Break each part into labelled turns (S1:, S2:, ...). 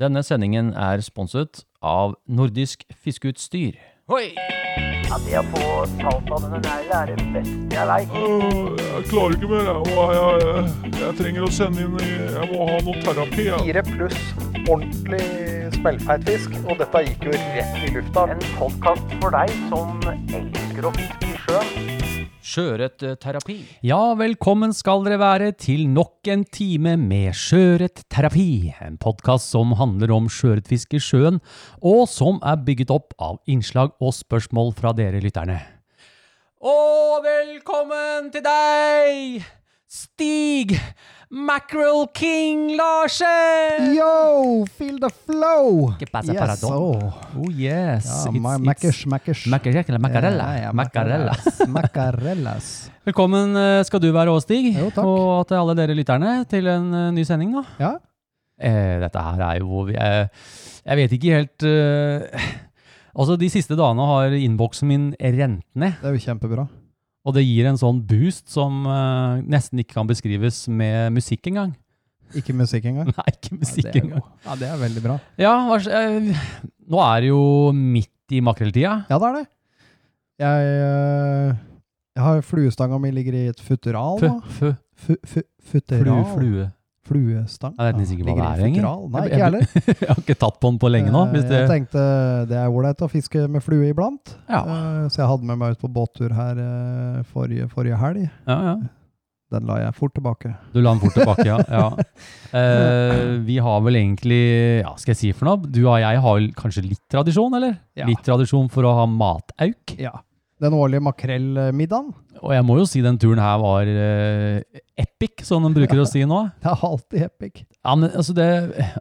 S1: Denne sendingen er sponset av Nordisk Fiskeutstyr.
S2: Hoi!
S3: At jeg får talt av denne neglen er det beste jeg veit.
S4: Øh, Jeg klarer ikke mer. Jeg, Åh, jeg, jeg, jeg trenger å sende inn i- Jeg må ha noe terapi. Jeg.
S5: Fire pluss ordentlig smellfeit fisk, og dette gikk jo rett i lufta.
S3: En podkast for deg som elsker å fiske i sjøen.
S2: Sjøørretterapi.
S1: Ja, velkommen skal dere være til nok en time med Sjøørretterapi. En podkast som handler om sjøørretfiske i sjøen, og som er bygget opp av innslag og spørsmål fra dere lytterne. Og velkommen til deg, Stig Mackerel King Larsen!
S6: Yo, feel the flow!
S1: Ikke passe
S6: yes,
S1: paradon.
S6: oh.
S1: Oh yes.
S6: Ja,
S1: It's-
S6: ma-
S1: it's-
S6: Mackers, mackers.
S1: Mackers, eller Macarella.
S6: Ja, ja,
S1: Macarella.
S6: macarellas, Macarellas.
S1: Velkommen eh, skal du være òg, Stig.
S6: Jo, takk.
S1: Og til alle dere lytterne til en eh, ny sending, da.
S6: Ja,
S1: Eh, dette her er jo hvor vi eh, Jeg vet ikke helt eh, Altså, de siste dagene har innboksen min rent ned,
S6: det er jo kjempebra.
S1: og det gir en sånn boost som eh, nesten ikke kan beskrives med musikk engang.
S6: Ikke musikk engang.
S1: Nei, ikke musikk
S6: ja, det er jo-
S1: engang.
S6: Ja, det er veldig bra.
S1: Ja, hva, s- eh, nå er det jo midt i makrelltida.
S6: Ja, det er det. Jeg, øh, jeg har fluestanga mi ligger i et futteral
S1: Fø,
S6: nå.
S1: fø,
S6: Fu, fu,
S1: flue,
S6: futteral?
S1: flue.
S6: Fluestang?
S1: Jeg vet nesten ikke hva
S6: ligger
S1: det
S6: i
S1: er, egentlig.
S6: futteral. Nei,
S1: Jeg-
S6: ikke jeg heller.
S1: Jeg har ikke tatt på den på lenge nå. Hvis
S6: Eh,
S1: det,
S6: Jeg tenkte det er ålreit å fiske med flue iblant.
S1: Ja.
S6: Eh, Så jeg hadde med meg ut på båttur her eh, forrige, forrige helg.
S1: ja, ja.
S6: Den la jeg fort tilbake.
S1: Du la den fort tilbake, ja. ja. Eh, vi har vel egentlig Ja, skal jeg si for noe? Du og jeg har vel kanskje litt tradisjon, eller?
S6: Ja.
S1: Litt tradisjon for å ha matauk.
S6: Ja. Den årlige makrellmiddagen.
S1: Og jeg må jo si den turen her var eh, epic, som de bruker å si nå.
S6: Det er alltid epic.
S1: Ja, men altså det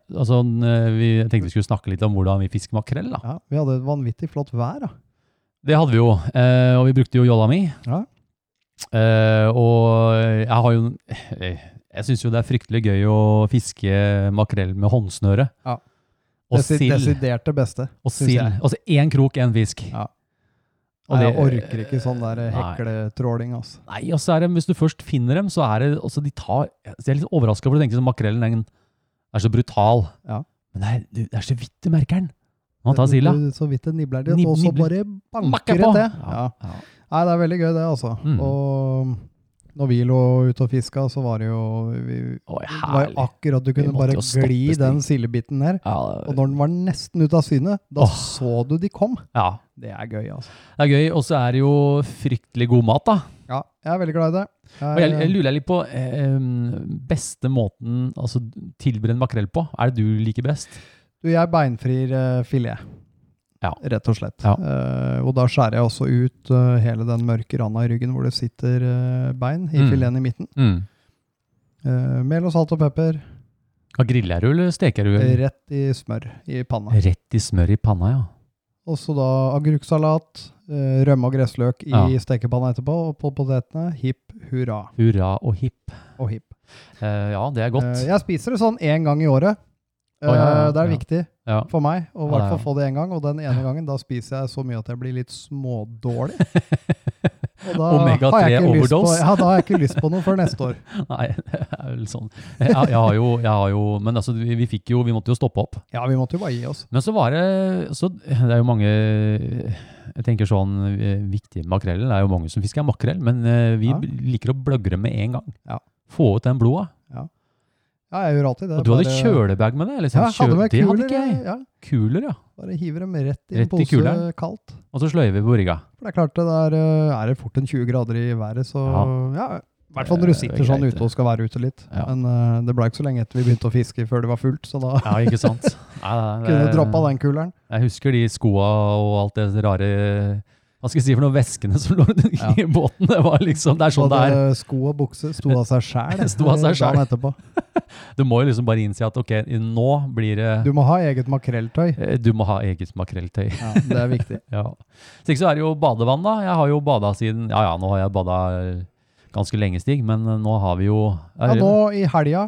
S1: altså, eh, Vi jeg tenkte vi skulle snakke litt om hvordan vi fisker makrell, da.
S6: Ja, vi hadde et vanvittig flott vær. da.
S1: Det hadde vi jo, eh, og vi brukte jo jolla mi.
S6: Ja.
S1: Eh, og jeg har jo eh, Jeg syns jo det er fryktelig gøy å fiske makrell med håndsnøre.
S6: Ja.
S1: Og
S6: Desi-
S1: sild.
S6: Desidert det beste.
S1: Og
S6: synes
S1: sild.
S6: jeg.
S1: Altså én krok, én fisk.
S6: Ja.
S1: Og
S6: Nei,
S1: det-
S6: jeg orker ikke sånn der eh,
S1: Nei.
S6: hekletråling. Altså.
S1: Nei, og så er det, hvis du først finner dem, så er det altså de tar, Jeg er litt overraska, for du tenker sånn makrellen den er så brutal.
S6: Ja.
S1: Men det er, du- det er så vidt du merker den når han tar silda.
S6: Du- du- Så vidt det nibler litt,
S1: Nib-
S6: og så
S1: nibler.
S6: bare
S1: Makker
S6: banker det til.
S1: Ja.
S6: Ja. Nei, det er veldig gøy, det, altså.
S1: Mm.
S6: Og når vi lå ute og fiska, så var det jo
S1: Å,
S6: vi, Det var
S1: herlig.
S6: jo akkurat du kunne
S1: måtte
S6: bare
S1: jo stoppe
S6: gli
S1: Stig.
S6: den sildebiten ned. Og
S1: Ja,
S6: når den var nesten ute av syne, da
S1: Åh.
S6: så du de kom.
S1: ja.
S6: Det er gøy, altså.
S1: Det er gøy. Og så er det jo fryktelig god mat, da.
S6: Ja, jeg er veldig glad i det.
S1: Og jeg, jeg
S6: eh,
S1: lurer litt på eh, em, beste måten altså tilberede makrell på. Er det du liker best?
S6: du, jeg beinfrir eh, filet.
S1: Ja.
S6: Rett og slett.
S1: Ja.
S6: Eh, og da skjærer jeg også ut eh, hele den mørke randa i ryggen hvor det sitter eh, bein i
S1: Mm.
S6: fileten i midten.
S1: Mm.
S6: Eh, mel og salt og pepper.
S1: Ja, Griller du, eller steker du? eller?
S6: Rett i smør i panna.
S1: Rett i smør i panna, ja.
S6: Og så da agurksalat, eh, rømme og gressløk i
S1: Ja.
S6: stekepanna etterpå, og på potetene hipp hurra
S1: Hurra og hipp.
S6: og hipp.
S1: Eh, ja, det er
S6: Eh,
S1: godt.
S6: jeg spiser det sånn én gang i året.
S1: Å, ja, ja,
S6: Eh, det er
S1: ja.
S6: viktig
S1: Ja.
S6: for meg å i
S1: Ja, det
S6: hvert
S1: er
S6: fall få det én gang. Og den ene gangen da spiser jeg så mye at jeg blir litt smådårlig. Og da
S1: Omega-3
S6: har jeg ikke lyst på-
S1: overdose.
S6: Ja, da har jeg ikke lyst på noe før neste år.
S1: Nei, det er vel sånn. Jeg, jeg har jo, jeg har jo Men altså, vi, vi fikk jo Vi måtte jo stoppe opp.
S6: Ja, vi måtte jo bare gi oss.
S1: Men så var det så, Det er jo mange Jeg tenker sånn eh, Viktig med makrellen. Det er jo mange som fisker makrell, men eh, vi
S6: Ja.
S1: b- liker å bløgge det med en gang.
S6: Ja.
S1: Få ut den bloda.
S6: Ja, jeg gjør alltid det.
S1: Og du hadde
S6: Bare-
S1: kjølebag med det? Eller,
S6: Ja,
S1: sånn
S6: jeg hadde
S1: kjø-
S6: med
S1: det
S6: kuler.
S1: hadde ikke jeg.
S6: ja.
S1: Kuler, ja.
S6: Bare hiver dem rett i
S1: Rett i
S6: en pose
S1: kuleren.
S6: kaldt.
S1: Og så sløyer vi på rigga.
S6: For det er klart det der eh, er det fort en 20 grader i været, så ja. I hvert fall når
S1: Det
S6: du
S1: er
S6: sitter sånn
S1: greit, det.
S6: ute og skal være ute litt.
S1: Ja.
S6: Men eh, det ble ikke så lenge etter vi begynte å fiske før det var fullt, så da
S1: Ja, ikke sant? Nei, nei,
S6: kunne
S1: det-
S6: du droppa den kuleren.
S1: Jeg husker de skoa og alt det rare Hva skal jeg si for noen veskene som lå rundt omkring i båten? Det var liksom, det er sånn det er.
S6: Både Sko og bukse sto av seg sjæl
S1: Sto av seg
S6: dagen etterpå.
S1: Du må jo liksom bare innse at ok, nå blir det
S6: Du må ha eget makrelltøy.
S1: Eh, Du må ha eget makrelltøy.
S6: Ja, det er viktig.
S1: Ja. Så ikke så er det jo badevann, da. Jeg har jo bada siden Ja ja, nå har jeg bada ganske lenge, Stig, men eh, nå har vi jo
S6: Ja, nå i helga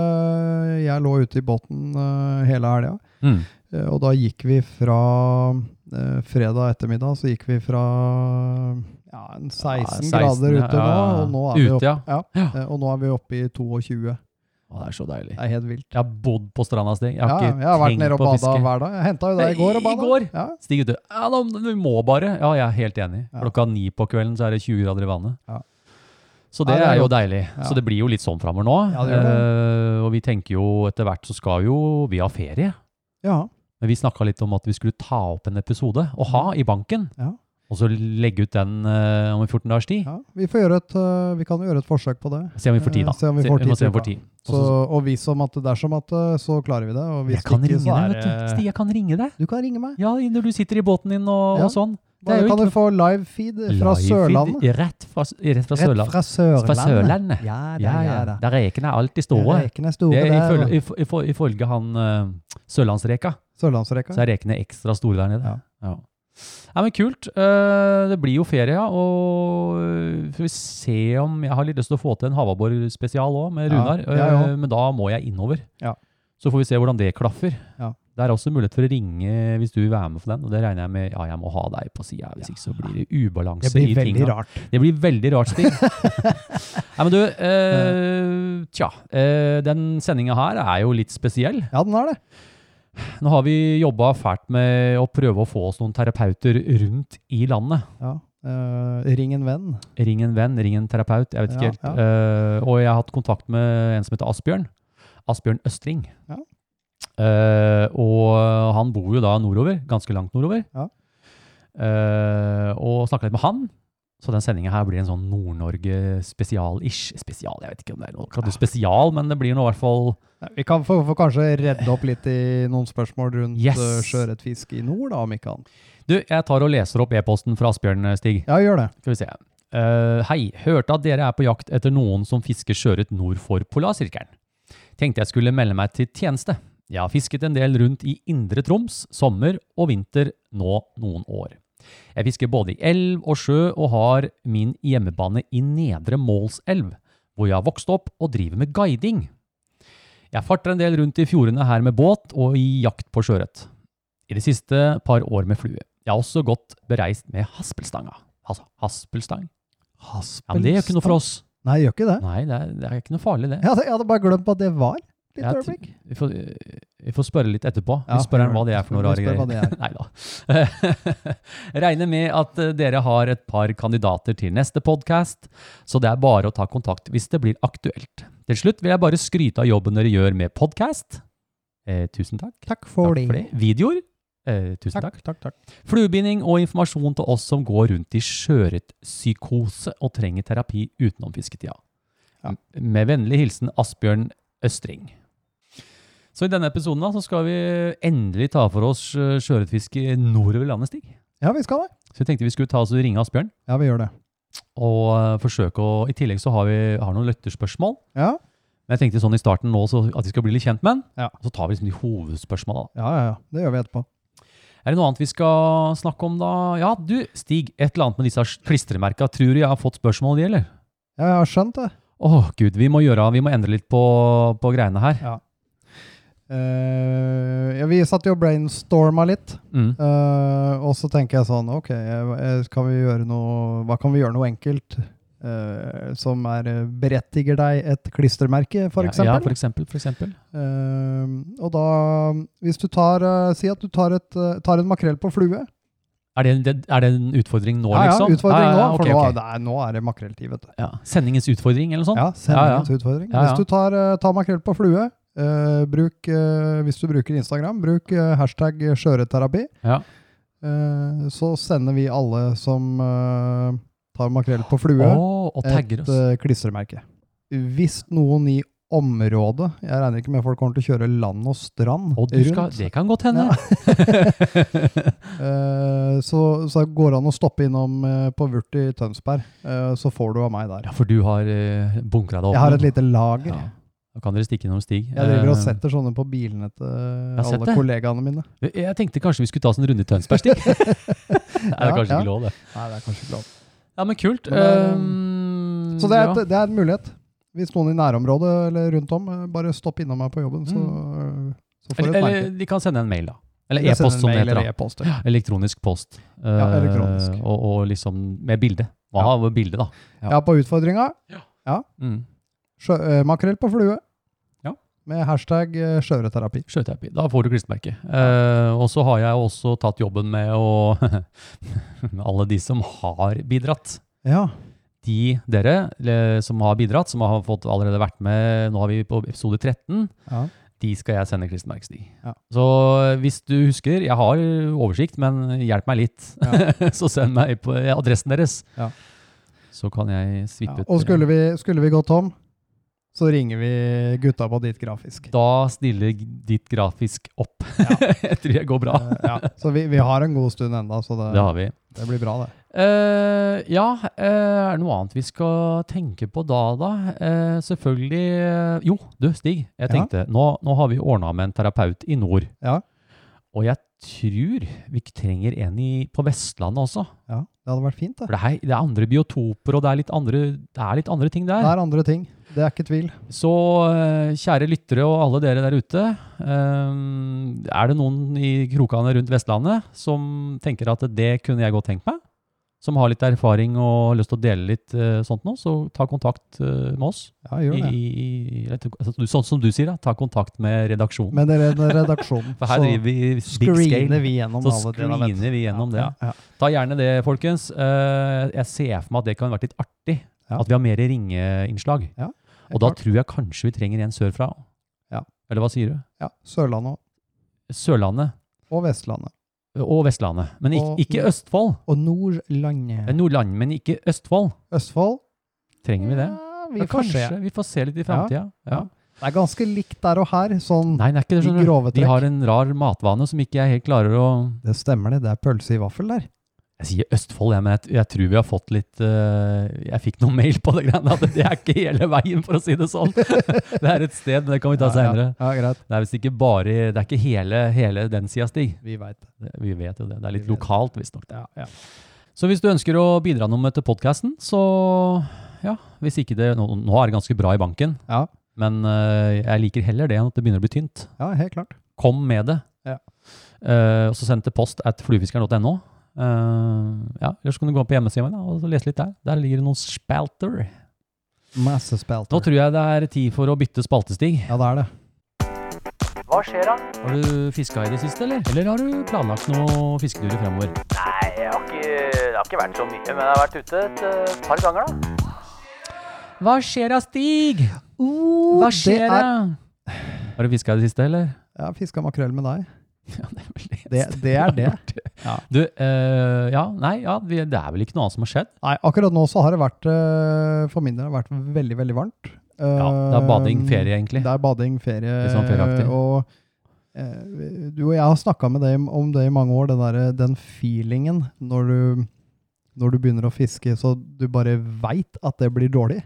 S6: eh, Jeg lå ute i båten eh, hele helga.
S1: mm.
S6: Eh, Og da gikk vi fra eh, fredag ettermiddag, så gikk vi fra ja, en 16,
S1: Ja, 16,
S6: grader
S1: ja,
S6: ute
S1: ja, ja.
S6: nå, og nå er vi
S1: Ute,
S6: opp-
S1: ja.
S6: ja, eh, og nå er vi oppe i 22.
S1: Å, det er så deilig.
S6: Det er helt vilt.
S1: Jeg har bodd på stranda, Stig. Jeg
S6: Ja,
S1: har ikke
S6: jeg har vært
S1: tenkt
S6: nede og
S1: på å
S6: bada
S1: fiske.
S6: hver dag. Jeg henta jo deg i går og
S1: I
S6: bada.
S1: går?
S6: Ja.
S1: Stig ute. Ja, da, vi må bare. Ja, jeg er helt enig.
S6: Ja.
S1: Klokka ni på kvelden så er det 20 grader i vannet.
S6: Ja.
S1: Så det,
S6: Ja, det er
S1: er jo
S6: godt.
S1: deilig.
S6: Ja.
S1: Så det blir jo litt sånn framover nå.
S6: Ja, det gjør det.
S1: Eh, og vi tenker jo etter hvert så skal jo vi ha ferie.
S6: ja.
S1: Men vi snakka litt om at vi skulle ta opp en episode og ha i banken.
S6: Ja.
S1: Og så legge ut den eh, om en 14 dagers tid.
S6: ja. Vi, får gjøre et, øh, vi kan jo gjøre et forsøk på det.
S1: Se om vi får tid, da.
S6: Eh, Se om vi får
S1: må
S6: tid
S1: se om
S6: til
S1: vi
S6: det.
S1: får tid. Og
S6: Så,
S1: så-
S6: og vis som at dersom at øh, så klarer vi det. Og hvis
S1: jeg kan
S6: ikke,
S1: ringe
S6: så
S1: deg,
S6: er
S1: vet du.
S6: det-
S1: Stig, jeg kan ringe deg.
S6: Du kan ringe meg.
S1: Ja, når du sitter i båten din og,
S6: Ja.
S1: og sånn. Det er
S6: Da
S1: jo
S6: kan
S1: ikke
S6: du få live feed
S1: Live
S6: fra
S1: feed,
S6: Sørlandet.
S1: Rett fra, rett fra
S6: Rett
S1: Sørlandet.
S6: fra Sørlandet.
S1: Fra Sørlandet.
S6: Ja, det
S1: Ja, ja.
S6: er det.
S1: Der rekene er alltid store.
S6: Rekene er store
S1: Det er,
S6: der.
S1: ifølge,
S6: og-
S1: if- if- ifølge han eh, Sørlandsreka,
S6: Sørlandsreka.
S1: så er rekene ekstra store der nede.
S6: Ja.
S1: Ja. Nei, men kult. Eh, det blir jo ferie, ja. Og eh, får vi se om Jeg har litt lyst til å få til en Havabbor-spesial òg, med
S6: Ja,
S1: Runar.
S6: jeg
S1: eh,
S6: òg.
S1: men da må jeg innover.
S6: Ja.
S1: Så får vi se hvordan det klaffer.
S6: Ja.
S1: Det er også mulighet for å ringe hvis du vil være med på den. Og det regner jeg med Ja, jeg må ha deg på sida, hvis ikke så blir det ubalanse
S6: Det blir
S1: i
S6: veldig
S1: tinga.
S6: rart.
S1: Det blir veldig rart, Stig. Nei, men du, eh, tja. Eh, den sendinga her er jo litt spesiell.
S6: Ja, den er det.
S1: Nå har vi jobba fælt med å prøve å få oss noen terapeuter rundt i landet.
S6: Ja. Eh, ring en venn.
S1: Ring en venn, ring en terapeut, jeg vet ikke
S6: Ja,
S1: helt. Eh, og jeg har hatt kontakt med en som heter Asbjørn. Asbjørn Østring.
S6: Ja.
S1: Eh, og han bor jo da nordover, ganske langt nordover.
S6: Ja.
S1: Eh, og snakka litt med han. Så den sendinga her blir en sånn Nord-Norge spesial-ish. Spesial, jeg vet ikke om det er noe akkurat spesial, men det blir nå i hvert fall
S6: Nei, Vi kan få, få kanskje redde opp litt i noen spørsmål rundt
S1: Yes.
S6: eh, sjøørretfiske i nord, da, om ikke annet.
S1: Du, jeg tar og leser opp e-posten fra Asbjørn, Stig.
S6: Ja, gjør det.
S1: Skal vi se. Eh, hei, hørte at dere er på jakt etter noen som fisker sjøørret nord for polarsirkelen. Tenkte jeg skulle melde meg til tjeneste. Jeg har fisket en del rundt i indre Troms, sommer og vinter, nå noen år. Jeg fisker både i elv og sjø og har min hjemmebane i Nedre Målselv, hvor jeg har vokst opp og driver med guiding. Jeg farter en del rundt i fjordene her med båt og i jakt på sjøørret. I de siste par år med flue. Jeg har også gått bereist med haspelstanga. Altså, haspelstang? Ja, men det gjør ikke noe for oss.
S6: Nei, gjør ikke det.
S1: Nei, det er, det er ikke noe farlig, det.
S6: Jeg hadde, jeg hadde bare glemt at det var. Litt
S1: Jeg-
S6: øyeblikk.
S1: Vi får, vi får spørre litt etterpå.
S6: Ja,
S1: vi spør
S6: gjør
S1: han hva
S6: det.
S1: det er for noe
S6: Vi
S1: rare
S6: spør hva
S1: greier. Nei da. Regner med at eh, dere har et par kandidater til neste podkast, så det er bare å ta kontakt hvis det blir aktuelt. Til slutt vil jeg bare skryte av jobben dere gjør med podkast. Eh, tusen takk.
S6: Takk for det.
S1: Videoer. Eh, tusen takk.
S6: Takk, takk, takk.
S1: Fluebinding og informasjon til oss som går rundt i sjøørretpsykose og trenger terapi utenom fisketida.
S6: Ja.
S1: Med vennlig hilsen Asbjørn Østring. Så i denne episoden da, så skal vi endelig ta for oss eh, sjøørretfiske nordover i landet, Stig.
S6: Ja, vi skal det.
S1: Så jeg tenkte vi skulle ta oss og ringe Asbjørn,
S6: Ja, vi gjør det.
S1: og eh, forsøke å I tillegg så har vi har noen lytterspørsmål.
S6: Ja,
S1: Men jeg tenkte sånn i starten nå så at vi skal bli litt kjent med han.
S6: Ja.
S1: Så tar vi liksom de hovedspørsmåla, da.
S6: ja, ja. ja. Det gjør vi etterpå.
S1: Er det noe annet vi skal snakke om da? Ja, du, Stig, et eller annet med disse klistremerka. Tror du jeg har fått spørsmål om det, eller?
S6: Ja, jeg har skjønt det.
S1: Åh, gud, vi må gjøre, vi må endre litt på, på greiene her.
S6: Eh, ja, vi satt jo og brainstorma litt,
S1: Mm.
S6: eh, og så tenker jeg sånn Ok, eh, kan vi gjøre noe, hva kan vi gjøre noe enkelt eh, som er, eh, berettiger deg et klistremerke, for
S1: Ja,
S6: eksempel?
S1: ja, for eksempel, for eksempel.
S6: Eh, og da, hvis du tar eh, Si at du tar, et, eh, tar en makrell på flue.
S1: Er det, det- er det en utfordring nå,
S6: ja, ja,
S1: liksom?
S6: utfordring
S1: Ja, ja,
S6: nå, for
S1: ok,
S6: nå,
S1: ok.
S6: er- nei, nå er det makrelltid, vet du.
S1: Ja. Sendingens utfordring, eller noe sånt?
S6: Ja,
S1: sånn. Ja,
S6: sendingens utfordring.
S1: Ja, ja.
S6: Hvis du tar, eh, tar makrell på flue, eh, bruk, eh, hvis du bruker Instagram, bruk eh, hashtag skjøreterapi.
S1: Ja.
S6: Eh, så sender vi alle som eh, tar makrell på flue,
S1: Åh, og tagger
S6: et
S1: oss.
S6: eh, klistremerke. Hvis noen i området Jeg regner ikke med folk kommer til å kjøre land og strand
S1: Og du skal,
S6: rundt.
S1: det kan godt hende.
S6: eh, så, så går det an å stoppe innom eh, på Vurt i Tønsberg, eh, så får du av meg der.
S1: Ja, for du har uh, bunkret det opp.
S6: Jeg har
S1: nå.
S6: et lite lager.
S1: Ja. Da kan dere stikke innom Stig.
S6: Jeg driver og
S1: Eh,
S6: setter sånne på bilene til
S1: har sett
S6: alle
S1: det.
S6: kollegaene mine.
S1: Jeg tenkte kanskje vi skulle ta oss en runde i Tønsberg, Stig. Nei, det er
S6: Ja,
S1: kanskje
S6: ja.
S1: ikke lov, det.
S6: Nei, det er kanskje ikke lov.
S1: Ja, men kult.
S6: Men det er,
S1: Ehm,
S6: Så det er,
S1: ja.
S6: et, det er en mulighet. Hvis noen i nærområdet eller rundt om, eh, bare stopp innom meg på jobben, så, eh, så får du
S1: Mm. eller,
S6: et
S1: eller
S6: merke.
S1: de kan sende en mail, da. Eller
S6: Eller send
S1: e-post,
S6: en
S1: som det
S6: mail
S1: heter.
S6: eller
S1: da.
S6: e-post,
S1: Ja, Elektronisk post. Eh,
S6: elektronisk.
S1: Og, og liksom med bilde. Hva
S6: Ja.
S1: har bilde, da?
S6: Ja, på utfordringa.
S1: Mm.
S6: Sjø, eh, makrell på flue.
S1: Ja.
S6: med hashtag eh, skjøreterapi.
S1: Sjøterapi. Da får du klistremerke. Eh, og så har jeg også tatt jobben med å Alle de som har bidratt.
S6: Ja,
S1: De dere eh, som har bidratt, som har fått allerede vært med, nå har vi på episode 13,
S6: ja.
S1: de skal jeg sende klistremerkes til.
S6: Ja.
S1: Så hvis du husker, jeg har oversikt, men hjelp meg litt, så send meg på adressen deres.
S6: Ja.
S1: Så kan jeg
S6: ja.
S1: svippe ut.
S6: Og skulle vi, skulle vi gå tom, så ringer vi gutta på dit grafisk.
S1: Da stiller ditt grafisk opp. jeg tror det går bra.
S6: Eh, ja. Så vi, vi har en god stund enda, så det,
S1: Det har vi.
S6: det blir bra det.
S1: Eh, ja, eh, er det noe annet vi skal tenke på da, da? Eh, selvfølgelig eh, Jo, du, Stig. Jeg
S6: Ja.
S1: tenkte, nå, nå har vi ordna med en terapeut i nord.
S6: Ja.
S1: Og jeg tror vi trenger en i, på Vestlandet også.
S6: Ja, det hadde vært fint det.
S1: For det er, det er andre biotoper, og det er litt andre, det er litt andre ting der.
S6: Det er andre ting, det er ikke tvil.
S1: Så eh, kjære lyttere og alle dere der ute, eh, er det noen i krokene rundt Vestlandet som tenker at det kunne jeg godt tenkt meg? Som har litt erfaring og har lyst til å dele litt eh, sånt nå, så ta kontakt eh, med oss.
S6: Ja, gjør
S1: I,
S6: det.
S1: i, i, altså, du- sånn som du sier, da, ta kontakt med redaksjonen.
S6: Men det er den redaksjonen,
S1: For her driver vi big
S6: så screener
S1: scale.
S6: vi gjennom
S1: Så
S6: alle delene, vet du.
S1: screener vi gjennom det.
S6: Ja, ja.
S1: Ta gjerne det, folkens. Eh, jeg ser for meg at det kan være litt artig.
S6: Ja.
S1: At vi har mer ringeinnslag.
S6: Helt
S1: Og da
S6: klart.
S1: tror jeg kanskje vi trenger en sørfra.
S6: Ja.
S1: Eller hva sier du?
S6: ja, Sørlandet og-
S1: Sørlandet
S6: og Vestlandet.
S1: og Vestlandet. Men ikke,
S6: Og-
S1: ikke Østfold.
S6: Og Nordlandet.
S1: Nordland, men ikke Østfold.
S6: Østfold.
S1: Trenger vi det?
S6: Ja,
S1: Ja,
S6: vi får se.
S1: kanskje vi får se litt i framtida. Ja.
S6: ja. Det er ganske likt der og her. Sånn,
S1: Nei, det er ikke det.
S6: I
S1: skjønner du.
S6: grove
S1: De
S6: trekk.
S1: har en rar matvane som ikke jeg helt klarer å
S6: det stemmer det. Det er pølse i vaffel der.
S1: Jeg sier Østfold, jeg, men jeg, jeg tror vi har fått litt eh, Jeg fikk noen mail på det greiene at det er ikke hele veien, for å si det sånn. det er et sted, men det kan vi ta
S6: ja, ja.
S1: seinere.
S6: ja, greit.
S1: Det er visst ikke bare Det er ikke hele, hele den sida, Stig.
S6: Vi veit det.
S1: Det- Vi vet jo det. Det er litt
S6: Vi vet det.
S1: lokalt, visstnok.
S6: Ja, ja.
S1: Så hvis du ønsker å bidra noe til podkasten, så ja, hvis ikke det Nå, nå er det ganske bra i banken,
S6: Ja.
S1: men eh, jeg liker heller det enn at det begynner å bli tynt.
S6: ja, helt klart.
S1: Kom med det.
S6: Ja.
S1: Eh, og så send til post at fluefiskeren.no. Eh, ja, Eller så kan du gå på hjemmesida mi da, og så lese litt der. Der ligger det noen spalter.
S6: Masse
S1: Nå
S6: spelter.
S1: tror jeg det er tid for å bytte spaltestig.
S6: Ja, det er det.
S3: Hva skjer da?
S1: Har du fiska i det siste, eller? Eller har du planlagt noen fisketurer fremover?
S3: Nei, jeg har ikke, det har ikke vært så mye, men jeg har vært ute et eh, par ganger da.
S1: Hva skjer da, Stig?
S6: Uh,
S1: Hva skjer da? Har du fiska i det siste, eller?
S6: Jeg har fiska makrell med deg.
S1: Ja, det er vel
S6: Det,
S1: eneste
S6: det er
S1: vi
S6: det.
S1: har gjort.
S6: Ja.
S1: Du, eh, ja, nei, ja, vi- det er vel ikke noe annet som har skjedd?
S6: Nei, akkurat nå så har det vært eh, For min del har det vært veldig, veldig
S1: Ja,
S6: varmt.
S1: det
S6: Eh,
S1: er bading, ferie, egentlig.
S6: Det er bading, ferie.
S1: Litt sånn ferieaktig.
S6: Og eh, du og jeg har snakka med deg om det i mange år, den, der, eh, den feelingen når du, når du begynner å fiske så du bare veit at det blir dårlig.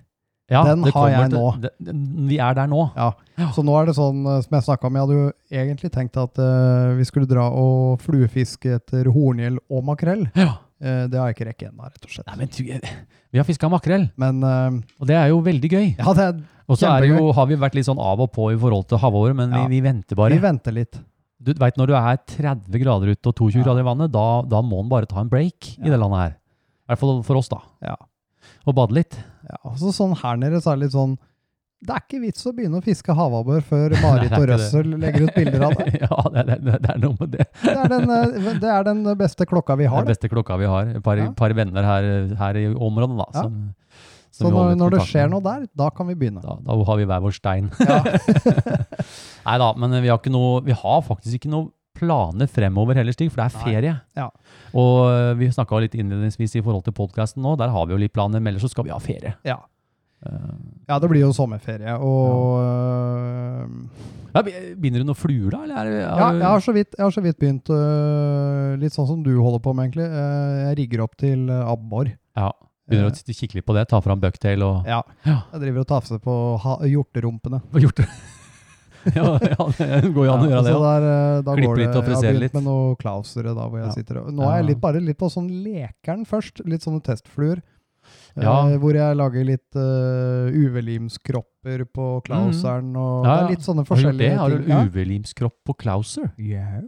S1: Ja,
S6: den
S1: det
S6: har
S1: kommer
S6: jeg
S1: til-
S6: nå.
S1: Det, det- vi er der nå.
S6: Ja.
S1: Ja.
S6: Så nå er det sånn eh, som jeg snakka om, jeg hadde jo egentlig tenkt at eh, vi skulle dra og fluefiske etter horngjell og makrell.
S1: Ja.
S6: Eh, det har jeg ikke rekket ennå, rett og slett.
S1: Nei, men du, vi har fiska makrell,
S6: Men eh,
S1: og det er jo veldig gøy.
S6: ja, det, er-
S1: Og så er det jo, har vi vært litt sånn av og på i forhold til havåret, men
S6: Ja.
S1: vi, vi venter bare.
S6: vi venter litt.
S1: du veit når du er 30 grader ute og 22
S6: Ja.
S1: grader i vannet, da, da må en bare ta en break i
S6: Ja.
S1: det landet her. I hvert fall for oss, da.
S6: Ja.
S1: Og bade litt.
S6: Ja, altså sånn her nede så er det litt sånn Det er ikke vits å begynne å fiske havabbor før Marit
S1: Nei, det er ikke
S6: og
S1: det.
S6: Røssel legger ut bilder av det.
S1: ja, det, er- det, er- det er noe med det.
S6: Det er den, eh, det er den beste klokka vi har.
S1: Det er
S6: Det.
S1: beste klokka vi har. Et par,
S6: Ja.
S1: par venner her, her i området, da.
S6: Ja.
S1: Som, som
S6: Så
S1: vi
S6: når,
S1: holder
S6: når det
S1: kontakten
S6: skjer
S1: med.
S6: noe der, da kan vi begynne.
S1: da, da har vi hver vår stein.
S6: Ja.
S1: Nei da, men vi har, ikke noe, vi har faktisk ikke noe planer fremover heller, Stig, for det er
S6: Nei.
S1: ferie.
S6: Ja.
S1: Og øh, vi snakka litt innledningsvis i forhold til podkasten nå, der har vi jo litt planer, men ellers så skal vi ha ferie.
S6: Ja.
S1: Eh,
S6: ja, det blir jo sommerferie, og eh,
S1: ja, be- Binder du noen fluer, da? Eller er det,
S6: ja, jeg, har så vidt, jeg har så vidt begynt eh, litt sånn som du holder på med, egentlig. Eh, jeg rigger opp til eh, abbor.
S1: Ja, Begynner
S6: Eh.
S1: du å t- kikke litt på det? Ta fram bucktail og
S6: Ja.
S1: Ja.
S6: Jeg driver og tafser på ha hjorterumpene.
S1: Hva har gjort det? ja, ja, det går jo an å gjøre det. da.
S6: så der, eh, da
S1: Klippe
S6: går det,
S1: litt og frisere
S6: Jeg har
S1: litt.
S6: begynt med noen klausere da, hvor jeg
S1: Ja.
S6: sitter. og- Nå er jeg
S1: Ja.
S6: litt, bare litt på sånn lekeren først, litt sånne testfluer. eh,
S1: Ja.
S6: hvor jeg lager litt eh, UV-limskropper på klauseren,
S1: Mm.
S6: og
S1: Ja,
S6: det
S1: ja.
S6: er litt sånne
S1: Har du gjort det?
S6: forskjellige
S1: Har du
S6: ting. Ja.
S1: UV-limskropp på Klauser?
S6: Yeah.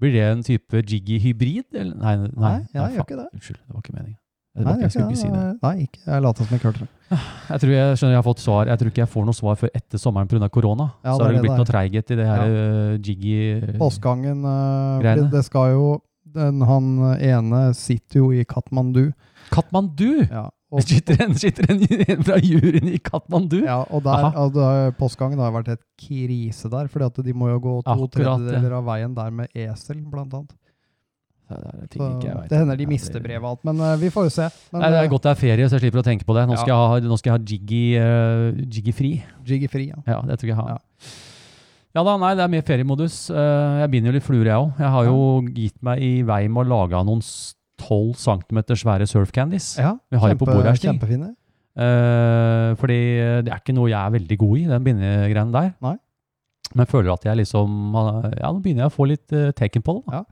S1: Blir det en type jiggy hybrid? Eller? Nei, nei,
S6: Nei, jeg
S1: nei,
S6: gjør
S1: faen.
S6: ikke det.
S1: Unnskyld, det var ikke meningen. Det var ikke, jeg skulle
S6: det
S1: ikke
S6: er
S1: si det.
S6: Nei, ikke. jeg later som jeg ikke hørte det.
S1: Jeg tror jeg skjønner jeg har fått svar. Jeg tror ikke jeg får noe svar før etter sommeren pga. korona. så
S6: Ja, det er
S1: har det
S6: det
S1: blitt
S6: det
S1: noe treighet i det her eh, jiggy...
S6: Postgangen
S1: Greiene.
S6: eh, fordi Det skal jo den, Han ene sitter jo i Katmandu.
S1: Katmandu!
S6: Ja,
S1: Det
S6: og,
S1: Sitter en, sitter en, en fra juryen i Katmandu?
S6: ja, og der,
S1: Aha.
S6: og da- postgangen har jo vært et krise der, fordi at de må jo gå to
S1: Akkurat, ja.
S6: tredjedeler av veien der med esel, blant annet.
S1: Det, er ting
S6: Så,
S1: ikke jeg vet.
S6: det hender de
S1: Ja,
S6: mister
S1: det-
S6: brevet og alt, men eh, vi får jo se. Men,
S1: Nei, det
S6: eh,
S1: er godt det er ferie, så jeg slipper å tenke på det. Nå skal,
S6: Ja.
S1: jeg, ha, nå skal jeg ha jiggy, eh, jiggy fri.
S6: Jiggy fri, ja.
S1: Ja, det tror jeg jeg har.
S6: Ja.
S1: Ja. da, nei, det er mer feriemodus. Eh, jeg binder jo litt fluer, jeg òg. Jeg har jo gitt meg i vei med å lage noen 12 cm svære surf candies.
S6: ja
S1: Vi har jo på bordet her, Stig.
S6: Kjempefine.
S1: Eh, fordi det er ikke noe jeg er veldig god i, den bindegreien der.
S6: Nei.
S1: Men jeg føler at jeg liksom har- Ja, nå begynner jeg å få litt eh, teken på det. da.
S6: Ja.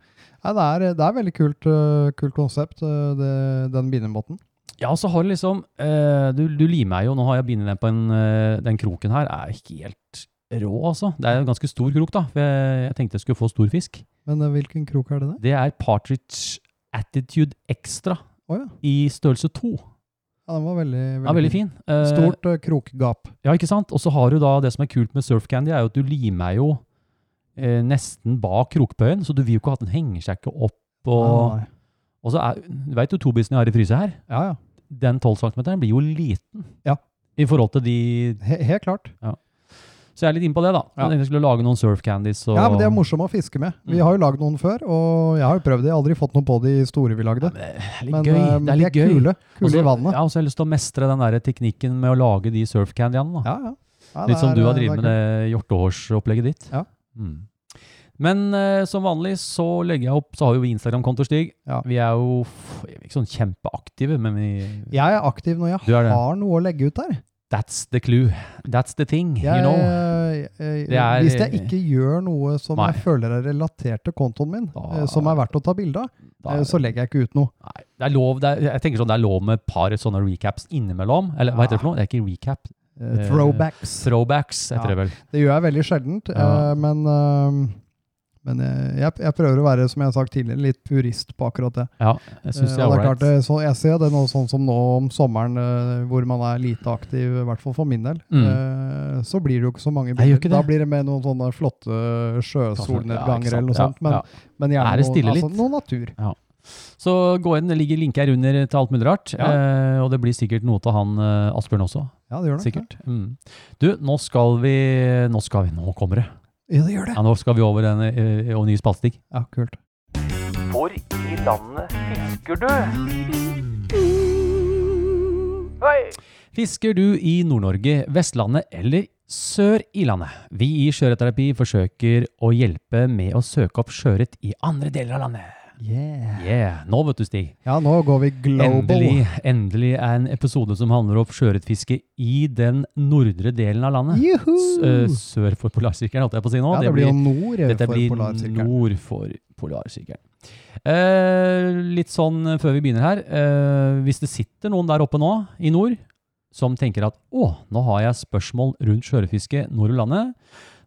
S6: Nei, det er, det er veldig kult, eh, kult konsept, eh, det, den bindemåten.
S1: Ja, og så har du liksom eh, du, du limer jo, nå har jeg bindet den på en, eh, den kroken her. Er helt rå, altså. Det er en ganske stor krok, da. for Jeg, jeg tenkte jeg skulle få stor fisk.
S6: Men eh, hvilken krok er det der?
S1: Det er Partridge Attitude Extra
S6: Å ja.
S1: i størrelse 2.
S6: ja, den var veldig, veldig,
S1: Den er veldig fin. Eh,
S6: Stort eh, krokgap.
S1: Ja, ikke sant? Og så har du da det som er kult med surf candy, er jo at du limer jo eh, nesten bak krokbøyen, så du vil jo ikke at den henger seg ikke opp. Og,
S6: Ah, Nei, nei.
S1: og så er, du vet jo tobisen jeg har i fryset her,
S6: Ja, ja.
S1: den 12 cm blir jo liten
S6: Ja.
S1: i forhold til de
S6: He, helt klart.
S1: Så jeg er litt inne på det, da.
S6: Ja.
S1: Jeg tenkte jeg skulle lage noen surf candies. Og,
S6: Ja, men De er morsomme å fiske med. Vi
S1: Mm.
S6: har jo lagd noen før, og jeg har jo prøvd det. Jeg har aldri fått noe på de store vi lagde.
S1: det er litt
S6: Men
S1: gøy.
S6: eh,
S1: Det er
S6: de
S1: litt gøy.
S6: kule.
S1: Og
S6: Kule
S1: så-
S6: i vannet.
S1: Ja, og så har jeg lyst til å mestre den der teknikken med å lage de surf candyene. da.
S6: Ja, ja. Nei,
S1: Litt
S6: det
S1: som
S6: er- eh,
S1: du har
S6: det er
S1: drevet med
S6: kult.
S1: det hjorteårsopplegget ditt.
S6: Ja.
S1: Mm. Men eh, som vanlig så legger jeg opp, så har jo vi Instagram-konto, Stig.
S6: Ja.
S1: Vi er jo f- vi er ikke sånn kjempeaktive, men vi
S6: Jeg er aktiv når jeg
S1: Du er det.
S6: har noe å legge ut der.
S1: That's the clue. That's the thing,
S6: Jeg, eh,
S1: you know.
S6: jeg,
S1: Det er-
S6: hvis jeg ikke gjør noe som
S1: Nei.
S6: jeg føler er relatert til kontoen min,
S1: Da-
S6: eh, som er verdt å ta bilde av,
S1: Da-
S6: eh, så legger jeg ikke ut noe.
S1: Nei, det er lov, det er, jeg tenker sånn, det er lov med et par sånne recaps innimellom. Eller hva heter det for noe? Det er ikke recap.
S6: Eh,
S1: Eh,
S6: Throwbacks.
S1: Throwbacks heter
S6: Ja.
S1: det vel.
S6: Det gjør jeg veldig sjeldent,
S1: Ja.
S6: eh, men, eh, men eh, jeg, jeg prøver å være, som jeg har sagt tidligere, litt purist på akkurat det.
S1: Ja, jeg syns
S6: Eh,
S1: det er
S6: og det er klart,
S1: ålreit.
S6: eh, så jeg ser det nå sånn som nå om sommeren, eh, hvor man er lite aktiv, i hvert fall for min del. eh, Så blir det jo ikke så
S1: Nei,
S6: mange
S1: Mm. gjør
S6: bilder.
S1: ikke
S6: Da
S1: det.
S6: blir det mer noen sånne flotte
S1: Ja, ikke
S6: sjøsolnedganger
S1: sant.
S6: eh, eller noe
S1: Ja,
S6: sånt. Men,
S1: ja.
S6: men gjerne
S1: Er det stille
S6: noe,
S1: litt?
S6: noe natur.
S1: Så gå inn, det ligger link her under til alt mulig rart. Eh, og det blir sikkert noe til han eh, Asbjørn også.
S6: Ja, det gjør det.
S1: Sikkert. Mm. Du, nå skal vi Nå skal vi, nå kommer det.
S6: Ja, det gjør det.
S1: Ja, nå skal vi over den eh, og ny spaltestikk.
S6: Ja, kult.
S3: Hvor i landet fisker du? Hei!
S1: Fisker du i Nord-Norge, Vestlandet eller sør i landet? Vi i Sjøørretterapi forsøker å hjelpe med å søke opp sjøørret i andre deler av landet.
S6: Yeah.
S1: Yeah, nå vet du, Stig.
S6: Ja, nå går vi global.
S1: Endelig, endelig er en episode som handler om sjøørretfiske i den nordre delen av landet.
S6: Juhu!
S1: S- eh, Sør for polarsirkelen, holdt jeg på å si nå.
S6: ja, det blir jo nord eh,
S1: Dette
S6: for
S1: blir
S6: polarsirkelen.
S1: nord for polarsirkelen. Eh, litt sånn eh, før vi begynner her. Eh, hvis det sitter noen der oppe nå, i nord, som tenker at å, nå har jeg spørsmål rundt sjøørretfiske nord i landet,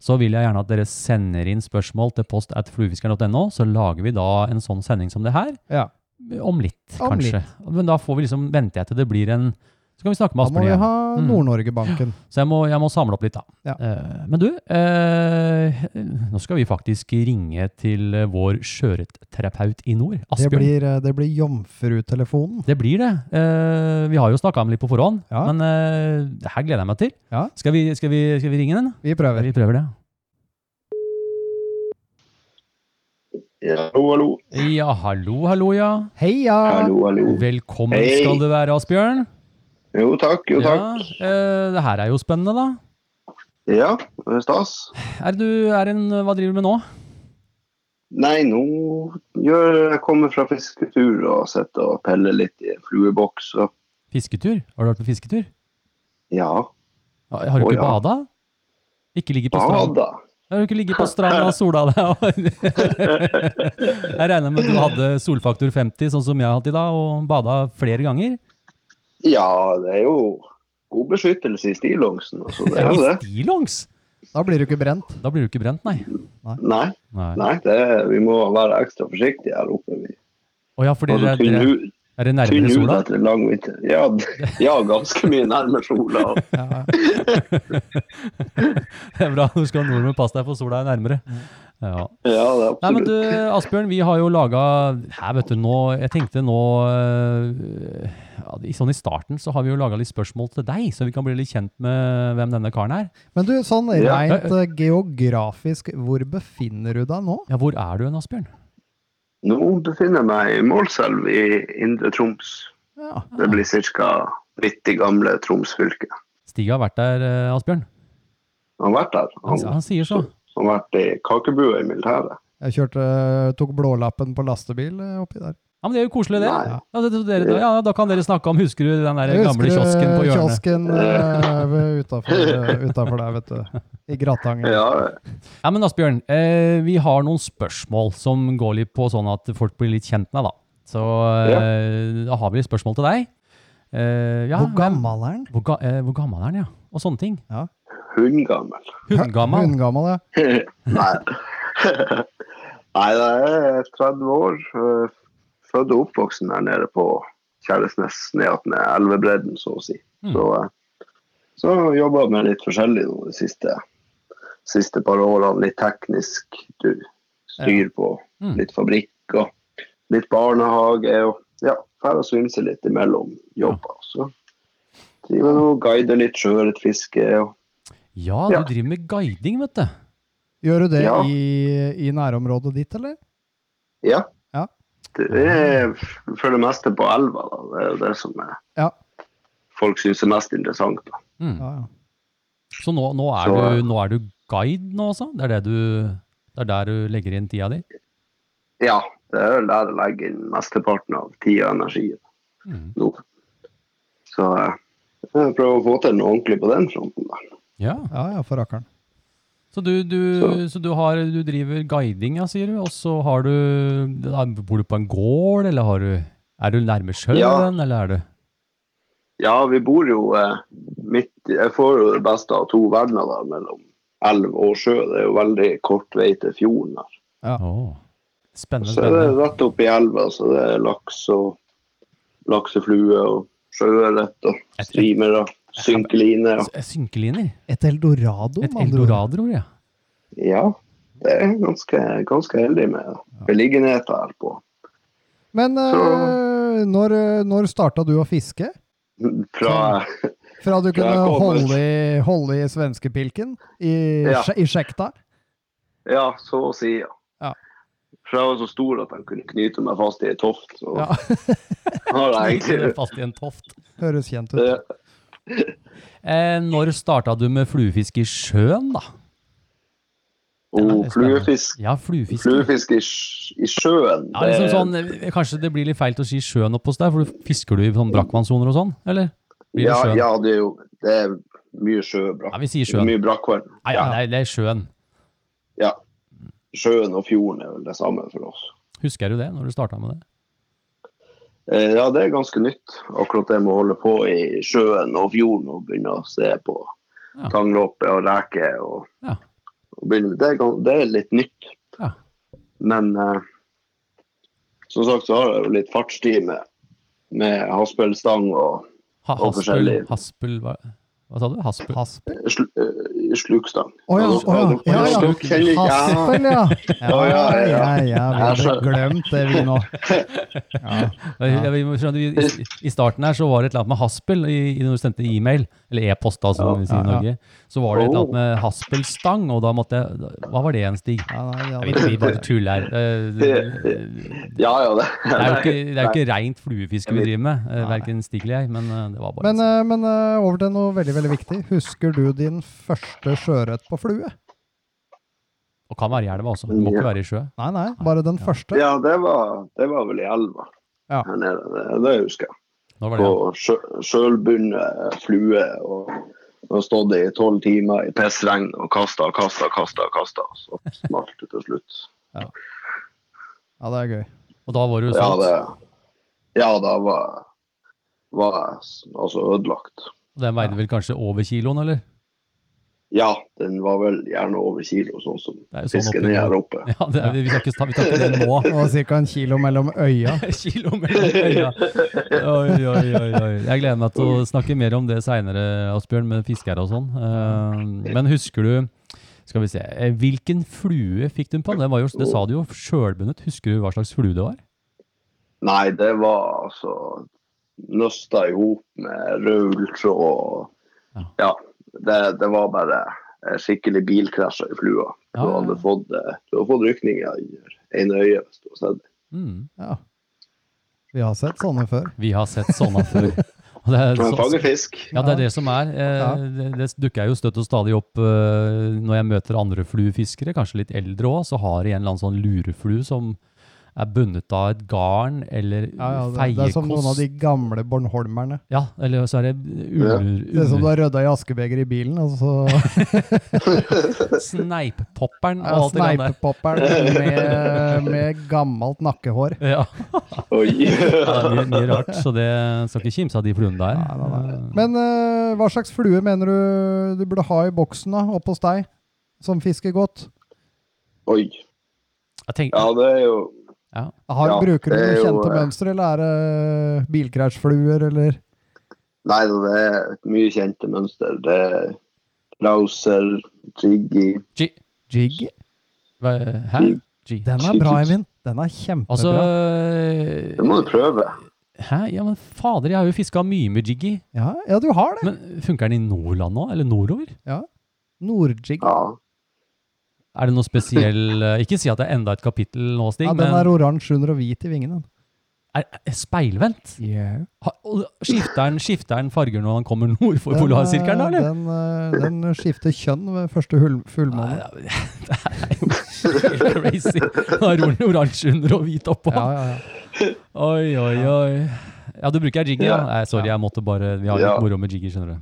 S1: så vil jeg gjerne at dere sender inn spørsmål til post at fluefiskeren.no, så lager vi da en sånn sending som det her.
S6: Ja.
S1: Om litt,
S6: Om
S1: kanskje. Men da får vi liksom, venter jeg til det blir en Så kan vi snakke med
S6: Da må
S1: Asbjørn
S6: vi
S1: igjen.
S6: ha
S1: Mm.
S6: Nord-Norge-banken.
S1: Så jeg må, jeg må samle opp litt, da.
S6: Ja.
S1: Eh, men du, eh, nå skal vi faktisk ringe til eh, vår sjøørretterapeut i nord,
S6: Det
S1: Asbjørn.
S6: blir, eh, det blir jomfrutelefonen.
S1: Det blir det. Eh, vi har jo snakka om det litt på forhånd,
S6: Ja.
S1: men eh, det her gleder jeg meg til.
S6: Ja.
S1: Skal, vi, skal, vi, skal vi ringe den?
S6: Vi prøver.
S1: Vi prøver det.
S7: Hallo, hallo.
S1: Ja, hallo, hallo, ja.
S6: Heia!
S7: Hallo, hallo.
S1: Velkommen
S7: Hei.
S1: skal du være, Asbjørn.
S7: Jo takk, jo takk.
S1: Ja, eh, det her er jo spennende, da.
S7: Ja, det er stas.
S1: Er du er en, Hva driver du med nå?
S7: Nei, nå gjør jeg kommer fra fisketur og sitter og peller litt i en flueboks. Og,
S1: Fisketur? Har du vært på fisketur?
S7: ja,
S1: Har har du
S7: Å,
S1: ikke
S7: ja.
S1: bada? Ikke ligget på stranda?
S7: bada.
S1: Jeg har jo ikke ligget på stranda og sola deg. og- Jeg regner med at du hadde solfaktor 50, sånn som jeg har hatt i dag, og bada flere ganger.
S7: Ja, det er jo god beskyttelse i stillongsen. Altså, det er
S1: I
S7: jo det.
S1: stillongs!
S6: Da blir du ikke brent.
S1: Da blir du ikke brent, nei.
S7: Nei,
S1: nei.
S7: nei det er, vi må være ekstra forsiktige her oppe. Vi
S1: Å ja, fordi
S7: har
S1: dere,
S7: så tynn
S1: dere,
S7: hud.
S1: Er det nærmere
S7: Tynn hud
S1: sola?
S7: etter en lang vinter. Ja, d- ja, ganske mye nærmere sola. og-
S6: Ja,
S1: Det er bra, du skal ha nordmenn passe deg for sola er nærmere. Ja.
S7: Ja, det er
S1: Nei, men
S7: absolutt.
S1: du, Asbjørn, vi har jo laga Her, vet du, nå Jeg tenkte nå øh, ja, i- Sånn i starten så har vi jo laga litt spørsmål til deg, så vi kan bli litt kjent med hvem denne karen er.
S6: Men du, sånn
S7: Ja.
S6: rent eh, geografisk, hvor befinner du deg nå?
S1: Ja, hvor er du hen, Asbjørn?
S7: Nå befinner jeg meg i Målselv i Indre Troms.
S6: Ja.
S7: Det blir ca. 90 gamle Troms fylke.
S1: Stig har vært der, øh, Asbjørn.
S7: Han har vært der.
S1: Han,
S7: Han
S1: han sier så.
S7: han har vært i kakebua i militæret.
S6: Jeg kjørte, eh, tok blålappen på lastebil eh, oppi der.
S1: Ja, men Det er jo koselig, det.
S7: Nei.
S1: Ja, det, dere, da- ja, Da kan dere snakke om Husker du den der
S6: Jeg
S1: gamle
S6: husker,
S1: kiosken på
S6: eh,
S1: hjørnet?
S6: Kiosken eh, utafor, utafor der, vet du. I Gratangen.
S7: Ja,
S1: Ja, men Asbjørn, eh, vi har noen spørsmål som går litt på sånn at folk blir litt kjent med, da. Så eh, da har vi litt spørsmål til deg. Eh, ja,
S6: Hvor
S1: hvem-
S6: gammel er den?
S1: Hvor, ga, eh, hvor gammel er han, ja? Og sånne ting.
S7: hundgammel.
S1: Hundegammel.
S6: Hundegammel, ja.
S7: Nei. Nei, jeg er 30 år. eh, Født og oppvoksen der nede på Kjæresnes, ned attmed elvebredden, så å si.
S1: Mm.
S7: Så, eh, så jobba jeg med litt forskjellig nå de siste, siste par årene. Litt teknisk du, styr på
S1: Mm.
S7: litt fabrikk og litt barnehage. og ja, Får svinse litt imellom jobber. Så driver jeg og guider litt sjøørretfiske. og-
S1: Ja,
S7: Ja.
S1: du driver med guiding, vet du.
S6: Gjør du det
S7: Ja.
S6: i, i nærområdet ditt, eller?
S7: Ja.
S6: Ja.
S7: Det er for det meste på elva. Da. Det er jo det som er,
S6: Ja.
S7: folk syns er mest interessant. Da.
S1: Mm.
S6: Ja, ja.
S1: Så nå, nå, er
S7: Så,
S1: du, nå er du guide nå også? Det er, det, du, det er der du legger inn tida di?
S7: Ja, det er vel der jeg legger inn mesteparten av tida og energien
S1: Mm.
S7: nå. Så eh, jeg prøver å få til noe ordentlig på den fronten. da.
S1: Ja.
S6: ja, ja, for rakkeren.
S1: Så du, du, så. du, har, du driver guiding, ja, sier du? Og så har du da Bor du på en gård, eller har du Er du nærme sjøen,
S7: Ja.
S1: eller er du
S7: Ja, vi bor jo eh, midt i- Jeg får jo det beste av to verdener da, mellom elv og sjø. Det er jo veldig kort vei til fjorden der.
S1: Å. Spennende.
S7: Så er det
S1: spennende.
S7: rett oppi elva, så det er laks og lakseflue og sjøørret og streamere, synkeliner. og-
S1: S- Synkeliner?
S6: Et eldorado,
S1: Et
S6: med andre ord.
S1: eldorado, ja.
S7: Ja, det er jeg ganske, ganske heldig med beliggenhet her på.
S6: Men eh, når, eh, når starta du å fiske?
S7: Fra
S6: Fra du kunne
S7: jeg kom ut.
S6: holde i, holde i svenskepilken? I,
S7: Ja.
S6: sje- i sjekta?
S7: ja, så å si,
S6: Ja.
S7: ja. For jeg var så stor at jeg kunne knyte meg fast i ei toft. Så
S6: Ja.
S7: har jeg
S1: Ligger
S7: egentlig
S1: Fast i en toft.
S6: Høres kjent ut.
S7: det,
S1: Eh, når starta du med fluefiske i sjøen, da?
S7: Og
S1: det er spennende.
S7: fluefisk,
S1: Ja, fluefiske.
S7: fluefisk i, sj- i sjøen
S1: Ja, liksom sånn, eh, kanskje det blir litt feil å si sjøen oppe hos deg, for du fisker du i sånn brakkvannssoner og sånn, eller? Blir det
S7: ja,
S1: sjøen?
S7: ja, det er jo det er mye sjøbrakk.
S1: Ja, vi sier sjøen.
S7: Mye brakkvann.
S1: Nei, ja, det er, det er sjøen.
S7: Ja. Sjøen og fjorden er vel det samme for oss.
S1: Husker du det, når du starta med det?
S7: Eh, Ja, det er ganske nytt, akkurat det med å holde på i sjøen og fjorden og begynne å se på
S1: Ja.
S7: tangloppe og reker. Og,
S1: Ja.
S7: og begynne, det, er, gan- det er litt nytt.
S1: Ja.
S7: Men eh, som sagt så har jeg jo litt fartstid med, med haspelstang og
S1: Ha,
S7: Og
S1: haspel,
S7: forskjellig.
S1: haspel hva, hva sa du? Haspel?
S6: Haspel?
S7: sl- eh, slukstang.
S6: Å ja, å ja,
S7: dere-
S6: ja, ja.
S7: dere kjenner- ja.
S6: Haspel, ja. Ja, ja,
S7: Å, ja, ja,
S6: ja.
S7: ja.
S6: Vi hadde glemt det, vi nå. Ja.
S1: Jeg- jeg- jeg skjønner, i, I starten her så var det et eller annet med haspel, i, i når du sendte e-mail, eller e-post da, som
S7: Ja, Oh.
S1: vi sier i
S6: ja,
S1: Norge. Så var det et eller annet med haspelstang, og da måtte jeg da- Hva var det igjen, Stig?
S6: Ja, nei,
S1: Jeg
S6: vi hadde
S1: vet ikke, vi bare tuller her. Eh,
S7: Ja, ja, det.
S1: Det er jo ikke, det er jo ikke rent fluefiske vi
S7: Nei.
S1: driver med, eh, verken Stig eller jeg, men eh, det var bare
S6: Men, eh, men eh, over til noe veldig veldig viktig. Husker du din første sjøørret på flue?
S1: Og kan være i elva også, det må ikke være i sjø.
S6: Nei, nei, bare den første.
S7: Ja, det var, det var vel i elva
S6: Ja.
S7: her nede. Det, det husker jeg.
S1: Nå var det
S7: På sjø- sjølbundet eh, flue. og og stått i tolv timer i pissregn og kasta og kasta og kasta. Og kasta, så smalt det til slutt.
S6: Ja, det er gøy.
S1: Og da var sånn du
S7: Ja,
S1: solgt.
S7: det, ja da var, var jeg s- altså ødelagt.
S1: Og Den veide vel kanskje over kiloen, eller?
S7: Ja, den var vel gjerne over kilo, sånn som
S1: Det er jo sånn opplegg.
S7: fiskene gjør her oppe.
S1: Ja, det er, vi, skal ikke, ta- vi tar ikke det nå.
S6: Det var ca. en kilo mellom øya.
S1: Kilo mellom øya. Oi, oi, oi, oi. Jeg gleder meg til å snakke mer om det seinere, Asbjørn, med fiskere og sånn. Eh, Men husker du skal vi se, eh, Hvilken flue fikk du på? Det, var jo, det sa du jo sjølbundet. Husker du hva slags flue det var?
S7: Nei, det var altså nøsta i hop med rød ulltråd og
S1: Ja.
S7: Ja. Det, det var bare eh, skikkelig bilkrasj i flua. Du
S1: Ja, ja, ja.
S7: hadde fått, eh, du hadde fått rykninger i ene øyet hvis du hadde sett det.
S1: Mm.
S6: Ja. Vi har sett sånne før.
S1: Vi har sett sånne før. Og det er
S7: Men
S1: så-
S7: fanger fisk.
S1: Ja, det er det som er. Eh,
S6: Ja.
S1: det- Det dukker jo støtt og stadig opp eh, når jeg møter andre fluefiskere, kanskje litt eldre òg, så har de en eller annen sånn lureflue som er bundet av et garn eller
S6: Ja, ja, det, det er som noen
S1: feiekost.
S6: av de gamle Bornholmerne.
S1: Ja, eller så er det
S6: Det er sånn som du
S1: under,
S6: har rydda i askebeger i bilen, og så
S1: under Sneippopperen og
S6: er
S1: alt det grann der.
S6: sneipepopperen med, med gammelt nakkehår.
S1: Ja,
S7: Oi.
S1: det er mye, mye rart, så det skal ikke kimse av de fluene der.
S6: Men eh, hva slags flue mener du du burde ha i boksen da, oppe hos deg, som fisker godt?
S7: Oi.
S1: Jeg tenker,
S7: Ja, det er jo
S6: Har,
S7: Ja,
S6: bruker du
S7: det er
S6: noen
S7: jo,
S6: kjente
S7: eh,
S6: mønstre, eller er det bilkrasjfluer, eller
S7: Nei, da, det er et mye kjente mønster. Det er Rauser, Triggy
S1: G-
S6: jig?
S1: hva- Hæ? G.
S6: Den Mm. er bra, Eivind. Den er kjempebra.
S1: Altså eh,
S7: Det må du prøve.
S1: Hæ? Ja, men fader, jeg har jo fiska mye med jiggy.
S6: ja, ja, du har det.
S1: Men funker den i Nordland nå, eller nordover?
S6: Nordjig.
S7: Ja.
S1: Er det noe spesiell eh, Ikke si at det er enda et kapittel nå, Stig,
S6: Ja, den
S1: men
S6: er oransje under og hvit i vingene.
S1: er, er speilvendt? Ha- og Skifter den, skifter den farger når han kommer nord for
S6: Den,
S1: polarsirkelen, da,
S6: eh,
S1: eller?
S6: Den, eh, den skifter kjønn ved første hull,
S1: Nei,
S6: fullmåne.
S1: det er jo helt crazy. Da ror den oransje under og hvit oppå.
S6: Ja, ja, ja.
S1: Oi, oi, oi. Ja, du bruker Jiggy, ja?
S7: Ja.
S1: Nei, sorry, jeg måtte bare Vi har litt
S7: Ja.
S1: moro med Jiggy, skjønner du.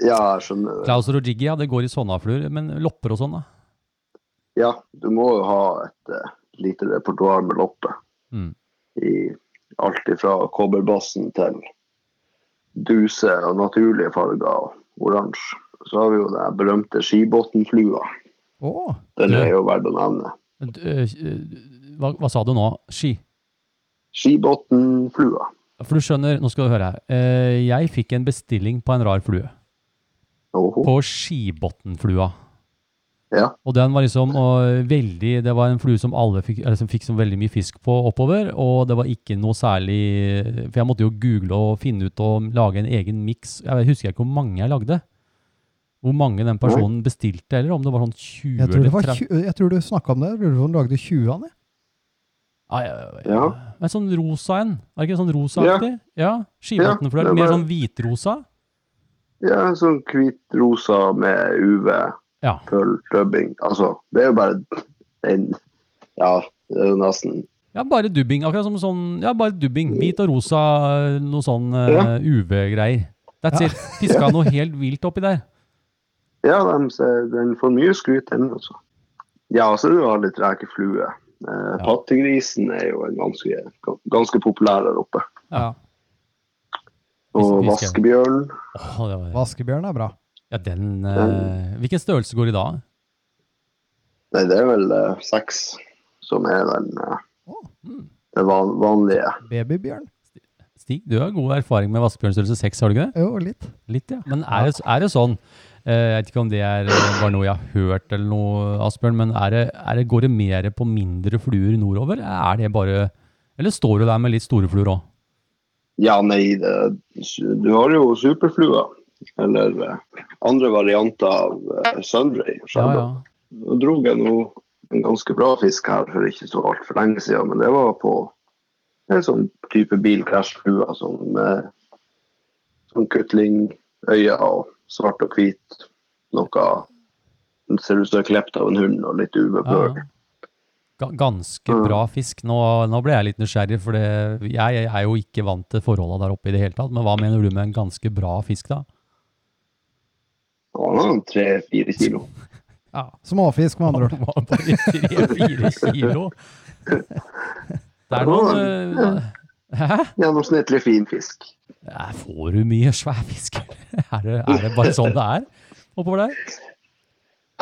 S7: ja, jeg skjønner det.
S1: Klauser og Jiggy, ja, det går i sånne fluer. Men lopper og sånn, da?
S7: Ja, du må jo ha et eh, lite repertoar med loppe.
S1: Mm.
S7: I alt ifra kobberbassen til duse og naturlige farger og oransje. Så har vi jo den berømte skibotnflua.
S6: Å,
S7: Den
S1: Ja.
S7: er jo verdt å nevne.
S1: Men, øh, øh, Hva, hva sa du nå? Ski?
S7: Skibotnflua.
S1: For du skjønner, nå skal du høre her. Eh, Jeg fikk en bestilling på en rar flue.
S7: Oho.
S1: På skibottenflua.
S7: Ja.
S1: Og den var liksom og veldig Det var en flue som alle fikk, eller som fikk så veldig mye fisk på oppover, og det var ikke noe særlig For jeg måtte jo google og finne ut og lage en egen miks. Jeg husker ikke hvor mange jeg lagde. Hvor mange den personen bestilte, eller om det var sånn 20
S6: jeg tror, det
S1: eller
S6: var
S1: 30
S6: tju- jeg tror du snakka om det. Jeg lurer på om du lagde 20 av det.
S1: Ai, ai, ai, ai.
S7: Ja.
S1: En sånn rosa en. Er det ikke sånn rosaaktig? Ja. ja. Skibottenflua.
S7: Ja, det
S1: mer
S7: var-
S1: sånn hvitrosa.
S7: ja, en sånn hvit-rosa med UV.
S1: Ja.
S7: pølldubbing. Altså, det er jo bare en Ja, det er jo nesten
S1: Ja, bare dubbing. Akkurat som sånn Ja, bare dubbing. Hvit og rosa, noe sånn eh,
S7: Ja.
S1: UV-greier. That's it. Fiska noe helt vilt oppi der.
S7: Ja, de, ser- den får mye skryt, den også. Ja, så du har litt rekeflue. Eh, Pattegrisen er jo en ganske, ganske populær der oppe.
S1: Ja.
S7: Og
S1: Fisk- fiske.
S7: vaskebjørn.
S1: Åh, det var,
S6: Vaskebjørn er bra.
S1: ja, den eh, Hvilken størrelse går i dag?
S7: Nei, det er vel eh, seks som er den eh, det van vanlige.
S6: Babybjørn?
S1: Stig, du har god erfaring med vaskebjørnstørrelse 6, har du ikke det?
S6: Jo, litt.
S1: Litt, ja. Men er det, er det sånn eh, Jeg vet ikke om det er eh, bare noe jeg har hørt eller noe, Asbjørn, men er det, er det, går det mer på mindre fluer nordover? Er det bare Eller står du der med litt store fluer òg?
S7: Ja, nei, det, du har jo superflua. Eller eh, andre varianter av eh, Sunray. Nå drog jeg nå en ganske bra fisk her for ikke så altfor lenge siden, men det var på en sånn type bilkrasjflue som eh, sånn kutling, øyne og svart og hvit. Noe den ser ut som er klept av en hund og litt
S1: Ja,
S7: ubeblørt.
S1: ja. Ga- Ganske bra fisk. Nå, nå ble jeg litt nysgjerrig, for det, jeg er jo ikke vant til forholda der oppe i det hele tatt. Men hva mener du med en ganske bra fisk, da?
S7: Det var noen tre-fire kilo.
S6: Ja. Småfisk, med andre ord.
S1: Det var Bare tre-fire kilo. Det er noen eh, Hæ?
S7: Gjennomsnittlig fin fisk.
S1: Eh, Får du mye svær fisk? Er det, er det bare sånn det er oppover der?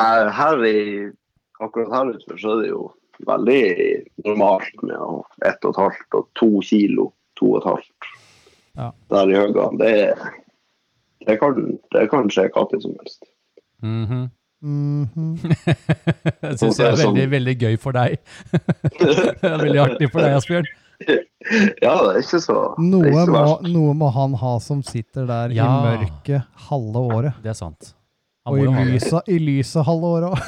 S7: Eh, Her i, akkurat her ute så er det jo veldig normalt med å ett og et halvt og to kilo, to og et halvt
S6: Ja.
S7: der i høga. Det, det, kan, det kan skje hva til som helst.
S1: Mhm.
S6: Mhm.
S1: Det syns jeg er sånn- veldig, veldig gøy for deg. Det er veldig artig for deg, Asbjørn.
S7: Ja, det er ikke så, det er
S6: Noe,
S7: ikke så
S6: må,
S7: verst.
S6: noe må han ha som sitter der i
S1: Ja.
S6: mørket halve året.
S1: Det er sant. Han
S6: Og
S1: må
S6: i
S1: jo ha det.
S6: lyset, i lyset halve året òg.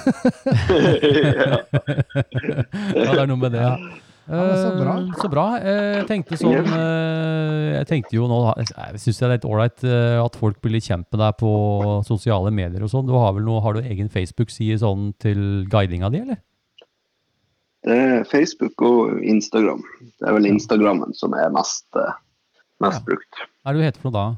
S7: ja.
S1: Ja, det er noe med det, ja.
S6: men så bra.
S1: Eh, Så bra. Eh, Jeg tenkte sånn eh, Jeg tenkte jo nå Jeg syns det er litt ålreit eh, at folk blir litt kjent med deg på sosiale medier og sånn. Du har vel noe Har du egen Facebook-side sånn til guidinga di, eller?
S7: Det er Facebook og Instagram. Det er vel Instagrammen som er mest, eh, mest brukt.
S1: Hva er det du heter for noe da?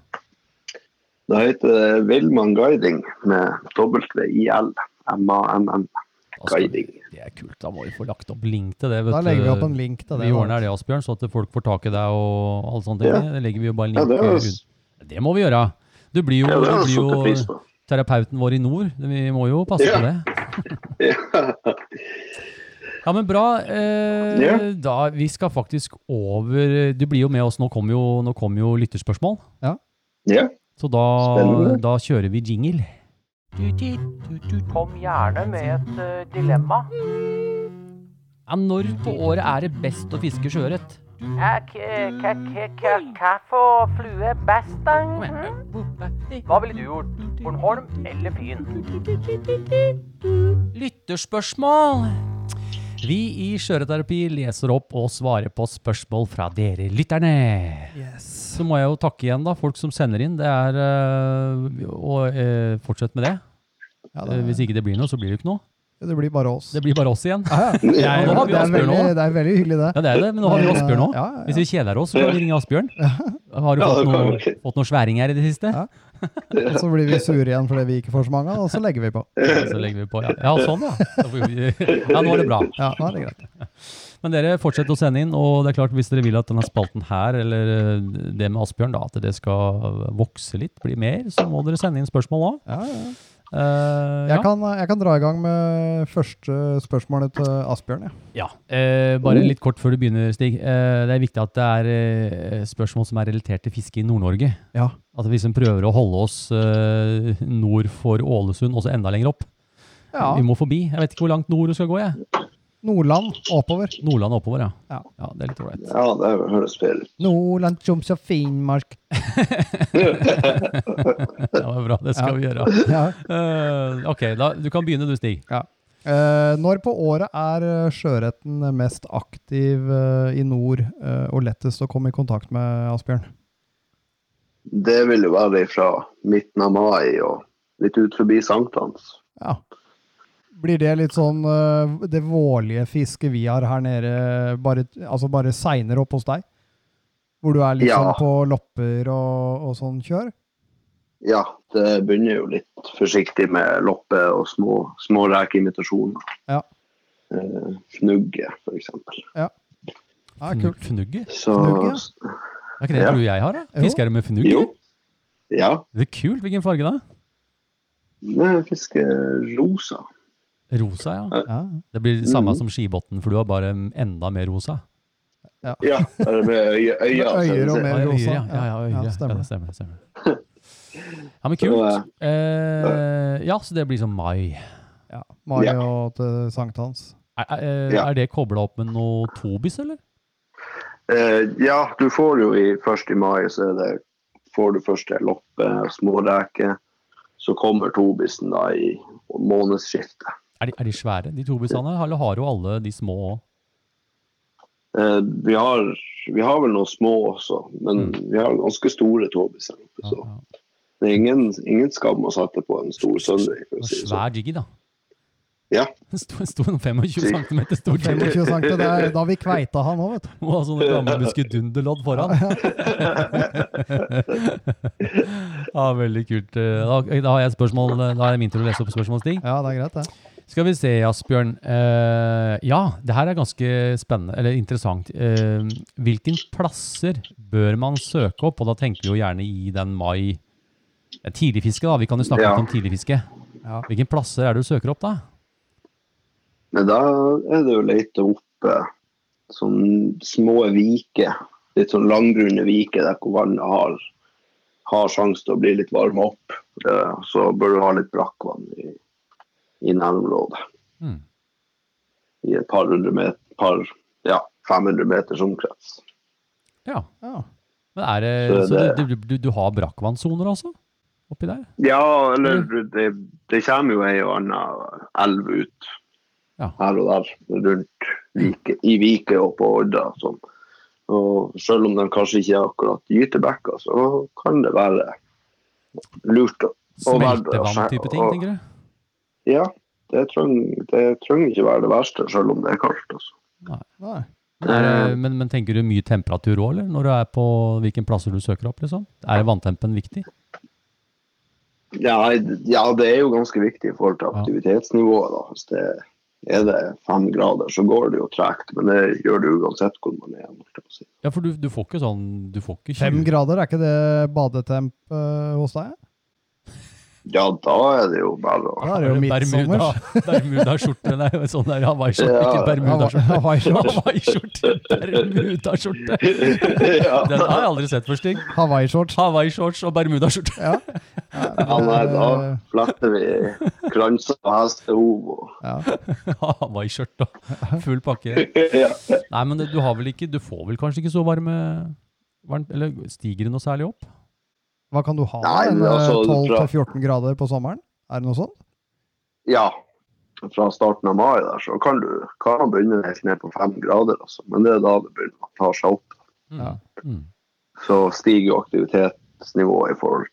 S7: Da heter det Villmann Guiding med W-I-L. M-A-N-N.
S1: Da skal vi-
S7: Guiding.
S1: Altså, Det er kult. Da må vi få lagt opp link til det. vet
S6: Da
S1: du.
S6: legger vi opp en link til det.
S1: Vi
S6: da.
S1: ordner det, Asbjørn, så at folk får tak i deg og alle sånne ting.
S7: Ja.
S1: Det legger vi jo bare en
S7: Ja,
S1: link
S7: det er,
S1: til. Det må vi gjøre. Du blir jo,
S7: ja,
S1: du
S7: det er
S1: blir
S7: jeg satt pris
S1: jo
S7: på.
S1: terapeuten vår i nord. Vi må jo passe
S7: Ja.
S1: på det.
S7: Ja.
S1: Ja, men bra. Eh,
S7: Ja.
S1: Da, vi skal faktisk over eh, Du blir jo med oss. Nå kommer jo, nå kom jo lytterspørsmål.
S7: ja.
S1: Så da,
S7: Spennende.
S1: da kjører vi jingle.
S3: Kom gjerne med et eh, dilemma.
S1: Ja, når på året er det best å fiske sjøørret?
S3: Hva for flue er best, da? Hva ville du gjort? Bornholm eller Fyn?
S1: Lytterspørsmål! Vi i Sjøørretterapi leser opp og svarer på spørsmål fra dere lytterne.
S6: Yes.
S1: Så må jeg jo takke igjen da, folk som sender inn. Det er, øh, og øh, fortsett med det.
S6: Ja,
S1: Eh, Hvis
S6: det,
S1: ikke det blir noe, så blir det jo ikke noe.
S6: det blir bare oss. Ah,
S1: Det blir bare oss igjen.
S6: Ja, ja.
S1: Ja, nå har vi
S6: det, er
S1: Asbjørn
S6: veldig,
S1: nå.
S6: det er veldig hyggelig, det.
S1: Ja, det er det, men nå har vi
S6: Men,
S1: Asbjørn òg.
S6: ja, ja, ja.
S1: Hvis vi kjeder oss, så kan vi ringe Asbjørn. Har du
S7: Ja,
S1: fått
S7: det kan
S1: noe,
S7: vi.
S1: fått noe sværing her i det siste?
S6: Ja. Og så blir vi sure igjen fordi vi ikke får så mange, og så legger vi på.
S1: Ja, Så legger vi på. Ja, ja sånn, ja. Da får vi- Ja, nå er det bra.
S6: Ja, nå er det greit.
S1: Men dere fortsetter å sende inn, og det er klart hvis dere vil at denne spalten her, eller eh, det med Asbjørn, da, at det skal vokse litt, bli mer, så må dere sende inn spørsmål òg.
S6: Ja, ja.
S1: ja.
S6: Jeg, kan, jeg kan dra i gang med første spørsmålet til Asbjørn. Ja.
S1: ja. Eh,
S6: Oh.
S1: bare litt kort før du begynner, Stig. Eh, det er viktig at det er eh, spørsmål som er relatert til fiske i Nord-Norge.
S6: Ja.
S1: At vi liksom prøver å holde oss eh, nord for Ålesund, og så enda lenger opp. Vi
S6: ja.
S1: må forbi. Jeg vet ikke hvor langt nord du skal gå, jeg.
S6: Nordland oppover.
S1: Nordland og oppover, ja.
S6: Ja.
S1: det er litt ålreit.
S7: ja, det høres feil ut.
S6: Nordland, Troms og Finnmark.
S1: Det var bra, det skal vi gjøre.
S6: Ja.
S1: Eh, ok, da, du kan begynne du, Stig.
S6: Eh, når på året er eh, sjøørreten mest aktiv eh, i nord eh, og lettest å komme i kontakt med, Asbjørn?
S7: Det vil jo være fra midten av mai og litt ut forbi sankthans.
S6: Ja. Blir det litt sånn eh, det vårlige fisket vi har her nede, bare, altså bare seinere opp hos deg? Hvor du er litt
S7: Ja.
S6: sånn på lopper og, og sånn kjør?
S7: Ja, det begynner jo litt forsiktig med loppe og små, små rekeimitasjoner.
S6: Ja.
S7: Eh, fnugge, for eksempel.
S6: Ja, kult.
S1: Fnugge?
S7: Så
S6: Fnugge?
S1: Er ikke det
S7: Ja.
S1: noe jeg har, da?
S6: Jo.
S1: Fisker du med fnugge?
S7: jo. Ja,
S1: Det er kult. Hvilken farge da?
S7: jeg fisker rosa.
S1: Rosa, ja.
S6: Ja.
S1: Det blir det samme
S7: Mhm.
S1: som skibottenflua, bare enda mer rosa.
S7: Ja, eller med øye, øya.
S6: Med øyer og mer
S1: Ja, øyre,
S6: rosa.
S1: ja. Ja, ja, øyre.
S6: Ja,
S1: ja,
S6: stemmer
S1: det
S6: det.
S1: stemmer. det stemmer. Ja, men
S7: Så,
S1: kult. Eh, ja, så det blir som mai.
S6: Ja. Mario
S7: Ja.
S6: og til sankthans.
S1: Er, er, eh,
S7: Ja.
S1: er det kobla opp med noe tobis, eller?
S7: Eh, ja, du får jo i først i mai, så er det, får du første loppe, småreke. Så kommer tobisen da i månedsskiftet.
S1: Er de, er de svære, de tobisene? Eller har jo alle de små òg?
S7: Eh, vi, har, vi har vel noen små også, men vi har ganske store tobiser. oppe,
S1: Ja,
S7: Så
S1: ja.
S7: det er ingen, ingen skam å sette på en stor søndag. for å
S1: En
S7: si det sånn.
S1: svær jiggy, da.
S7: Ja.
S1: En stor, en stor 25 cm stor jiggy.
S6: 25 cm, det er da vi kveita han òg, vet du.
S1: Og sånne gamle muskedunderlodd foran. ja, veldig kult. Da, da har jeg et spørsmål. Da er det min tur å lese opp spørsmål, Stig.
S6: Ja, det er greit, det.
S1: Skal vi se, Asbjørn. Eh, ja, det her er ganske spennende, eller interessant. Eh, hvilken plasser bør man søke opp? Og da tenker vi jo gjerne i den mai eh, Tidligfiske, da. Vi kan jo snakke
S7: Ja.
S1: litt om tidligfiske.
S6: Ja.
S1: Hvilke plasser er det du søker opp, da?
S7: Men da er det å lete opp eh, sånne små viker, litt sånn langgrunne viker der hvor vannet har, har sjanse til å bli litt varma opp. Eh, Så bør du ha litt brakkvann i, i nærområdet.
S1: Mm.
S7: I et par hundre meter, par, ja, 500 meters omkrets.
S1: Ja.
S6: Ja.
S1: Men er det,
S7: Så
S1: så
S7: det-
S1: du, du, du, du har brakkvannssoner altså? Oppi der?
S7: Ja,
S1: Mm.
S7: eller det, det kommer jo ei og anna elv ut
S1: Ja. Mm.
S7: her og der rundt vike, i Vike og på Odda. og Sånn. Og selv om de kanskje ikke er akkurat gytebekker, så kan det være lurt å og verdt å se-
S1: Smeltevann-type ting,
S7: og-
S1: tenker du?
S7: Ja, det trenger, det trenger ikke være det verste, selv om det er kaldt. Altså.
S6: Nei.
S1: Men, er,
S7: eh,
S1: eh, det- men, men tenker du mye temperatur òg, eller? Når du er på hvilken plasser du søker opp, liksom? Er vanntempen viktig?
S7: Ja, ja, det er jo ganske viktig i forhold til
S1: Ja.
S7: aktivitetsnivået. Da. Hvis det er det fem grader, så går det jo tregt. Men det gjør det jo uansett hvor man er. holdt jeg på å si.
S1: Ja, for du, du får ikke sånn Du får ikke
S6: Fem
S1: 20
S6: grader, er ikke det badetemp eh, hos deg?
S7: Ja, da er det jo bare å
S6: Da er det jo midtsommers.
S1: Bermuda- Bermudaskjorte, nei, sånn der hawaiiskjorte,
S7: Ja.
S1: ikke bermudaskjorte.
S6: Hawaii-shorts.
S1: Hawaiiskjorte, bermudaskjorte.
S7: ja.
S1: Den har jeg aldri sett for stygg.
S6: Hawaii-shorts.
S1: Hawaiiskjorts og bermudaskjorte.
S6: Ja.
S7: ja, nei, da fletter vi kranser og hestehov og
S6: Ja.
S1: Hawaiiskjørt og full pakke.
S7: ja.
S1: Nei, men det- du har vel ikke Du får vel kanskje ikke så varme varmt, Eller stiger det noe særlig opp?
S6: Hva kan du ha?
S7: Nei,
S6: en,
S7: men altså,
S6: eh, 12
S7: fra-
S6: til 14 grader på sommeren? Er det noe sånt?
S7: ja. Fra starten av mai der, så kan du kan man begynne helt ned på fem grader, altså. Men det er da det begynner å ta seg opp.
S6: Ja.
S1: Mm.
S7: Så stiger jo aktivitetsnivået i forhold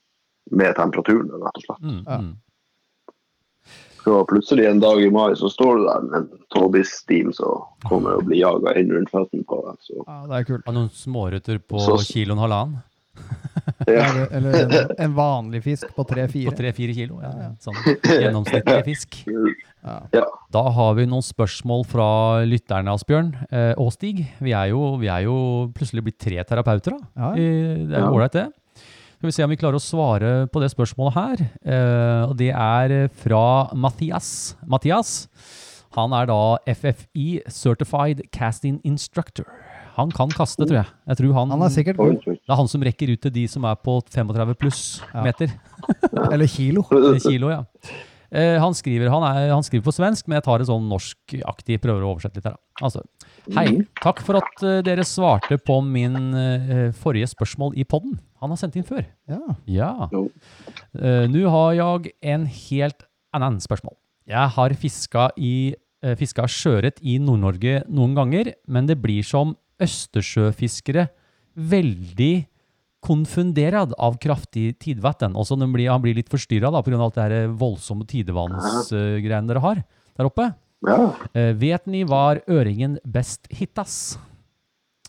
S7: med temperaturen, rett og slett.
S1: Mm.
S6: Ja.
S1: Mm.
S7: Så plutselig en dag i mai så står du der med en tobis-steam som kommer og blir jaga inn rundt føttene på deg. Så
S6: Ja, det er kult.
S1: Og noen småørreter på
S7: Så-
S1: kiloen halvannen?
S7: ja.
S6: Eller, eller en, en vanlig fisk på
S1: På
S6: 3-4.
S1: tre-fire kilo? Ja, Sånn gjennomsnittlig fisk. Da har vi noen spørsmål fra lytterne, Asbjørn eh, og Stig. Vi er, jo, vi er jo plutselig blitt tre terapeuter, da.
S6: Ja.
S1: Eh, Det er
S7: Ja.
S1: jo ålreit, det. Skal vi se om vi klarer å svare på det spørsmålet her. Eh, og det er eh, fra Mathias. Mathias. Han er da FFI Certified Casting Instructor. Han kan kaste, tror jeg. Jeg tror han,
S6: Oh. Han er sikkert
S7: Oi,
S6: god.
S7: oi.
S1: det er han som rekker ut til de som er på 35 pluss
S6: Ja.
S1: meter.
S6: Eller kilo.
S1: Eh, Kilo, ja. Eh, han, skriver, han, er, han skriver på svensk, men jeg tar det sånn norskaktig, prøver å oversette litt her. da. Altså, hei, takk for at eh, dere svarte på min eh, forrige spørsmål i podden. Han har sendt inn før.
S6: Ja.
S1: Ja.
S7: Jo.
S1: Eh, Nå har jeg en helt annen spørsmål. Jeg har fiska, i, eh, fiska sjøørret i Nord-Norge noen ganger, men det blir som østersjøfiskere veldig konfunderad av kraftig tidvann. Også den blir, han blir litt forstyrra pga. alt det her voldsomme tidevannsgreiene dere har der oppe.
S7: Ja.
S1: Eh, vet ni var øringen best hittas?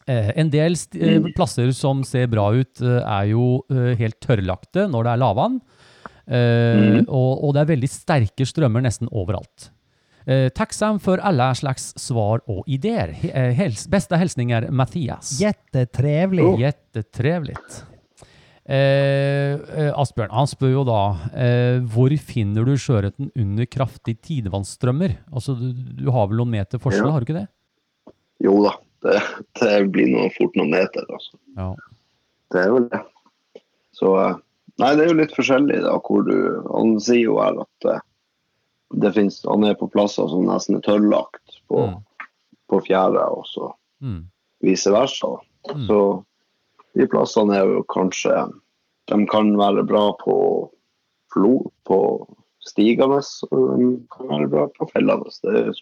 S1: Eh, en del st eh, plasser som ser bra ut, eh, er jo eh, helt tørrlagte når det er lavvann. Eh, og, og det er veldig sterke strømmer nesten overalt. Eh, takksam for alle slags svar og ideer. He- eh, hels beste hilsninger Mathias.
S7: Oh.
S6: Jettetrevlig.
S1: Jättetrevlig. Eh, eh, Asbjørn, han spør jo da eh, hvor finner du sjøørreten under kraftig tidevannsstrømmer? Altså, du, du har vel noen meter forskjell,
S7: Ja.
S1: har du ikke det?
S7: Jo da, det, det blir noe fort noen meter. Altså.
S1: Ja.
S7: Det er vel det. Så eh, Nei, det er jo litt forskjellig da, hvor du Han sier jo her at eh, det finnes, han er på plasser som nesten er tørrlagt på,
S1: Mm.
S7: på fjæra, og så
S1: Mm.
S7: vice versa.
S1: Mm.
S7: Så de plassene er jo kanskje De kan være bra på flo, på stigende, og de kan være bra på fellende. Det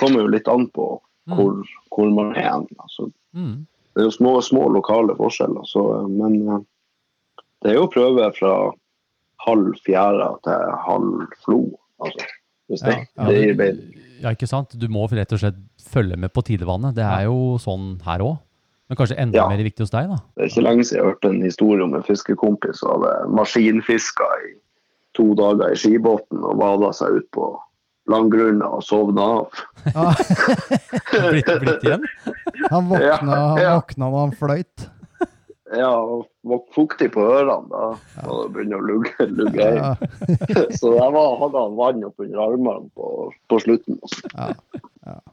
S7: kommer jo litt an på hvor, hvor man er hen. Altså,
S1: Mm.
S7: det er jo små, små lokale forskjeller, så, eh, men eh, det er jo prøve fra halv fjæra til halv flo. Altså, hvis det,
S1: Ja,
S7: det gir
S1: men-
S7: bedre.
S1: ja, ikke sant? Du må rett og slett følge med på tidevannet. Det er jo sånn her òg. Men kanskje enda
S7: Ja.
S1: mer viktig hos deg, da.
S7: Det er ikke lenge siden jeg hørte en historie om en fiskekompis som hadde maskinfiska i to dager i skibåten og vada seg ut på langgrunna og sovna av.
S6: Ja.
S1: Blitt, blitt igjen?
S6: Han våkna, han
S7: Ja, ja.
S6: våkna da han fløyt.
S7: ja, og var fuktig på ørene da, da det begynner å lugge. lugge inn.
S6: Ja,
S7: Så jeg var, hadde han vann oppunder armene på, på slutten. altså.
S6: ja.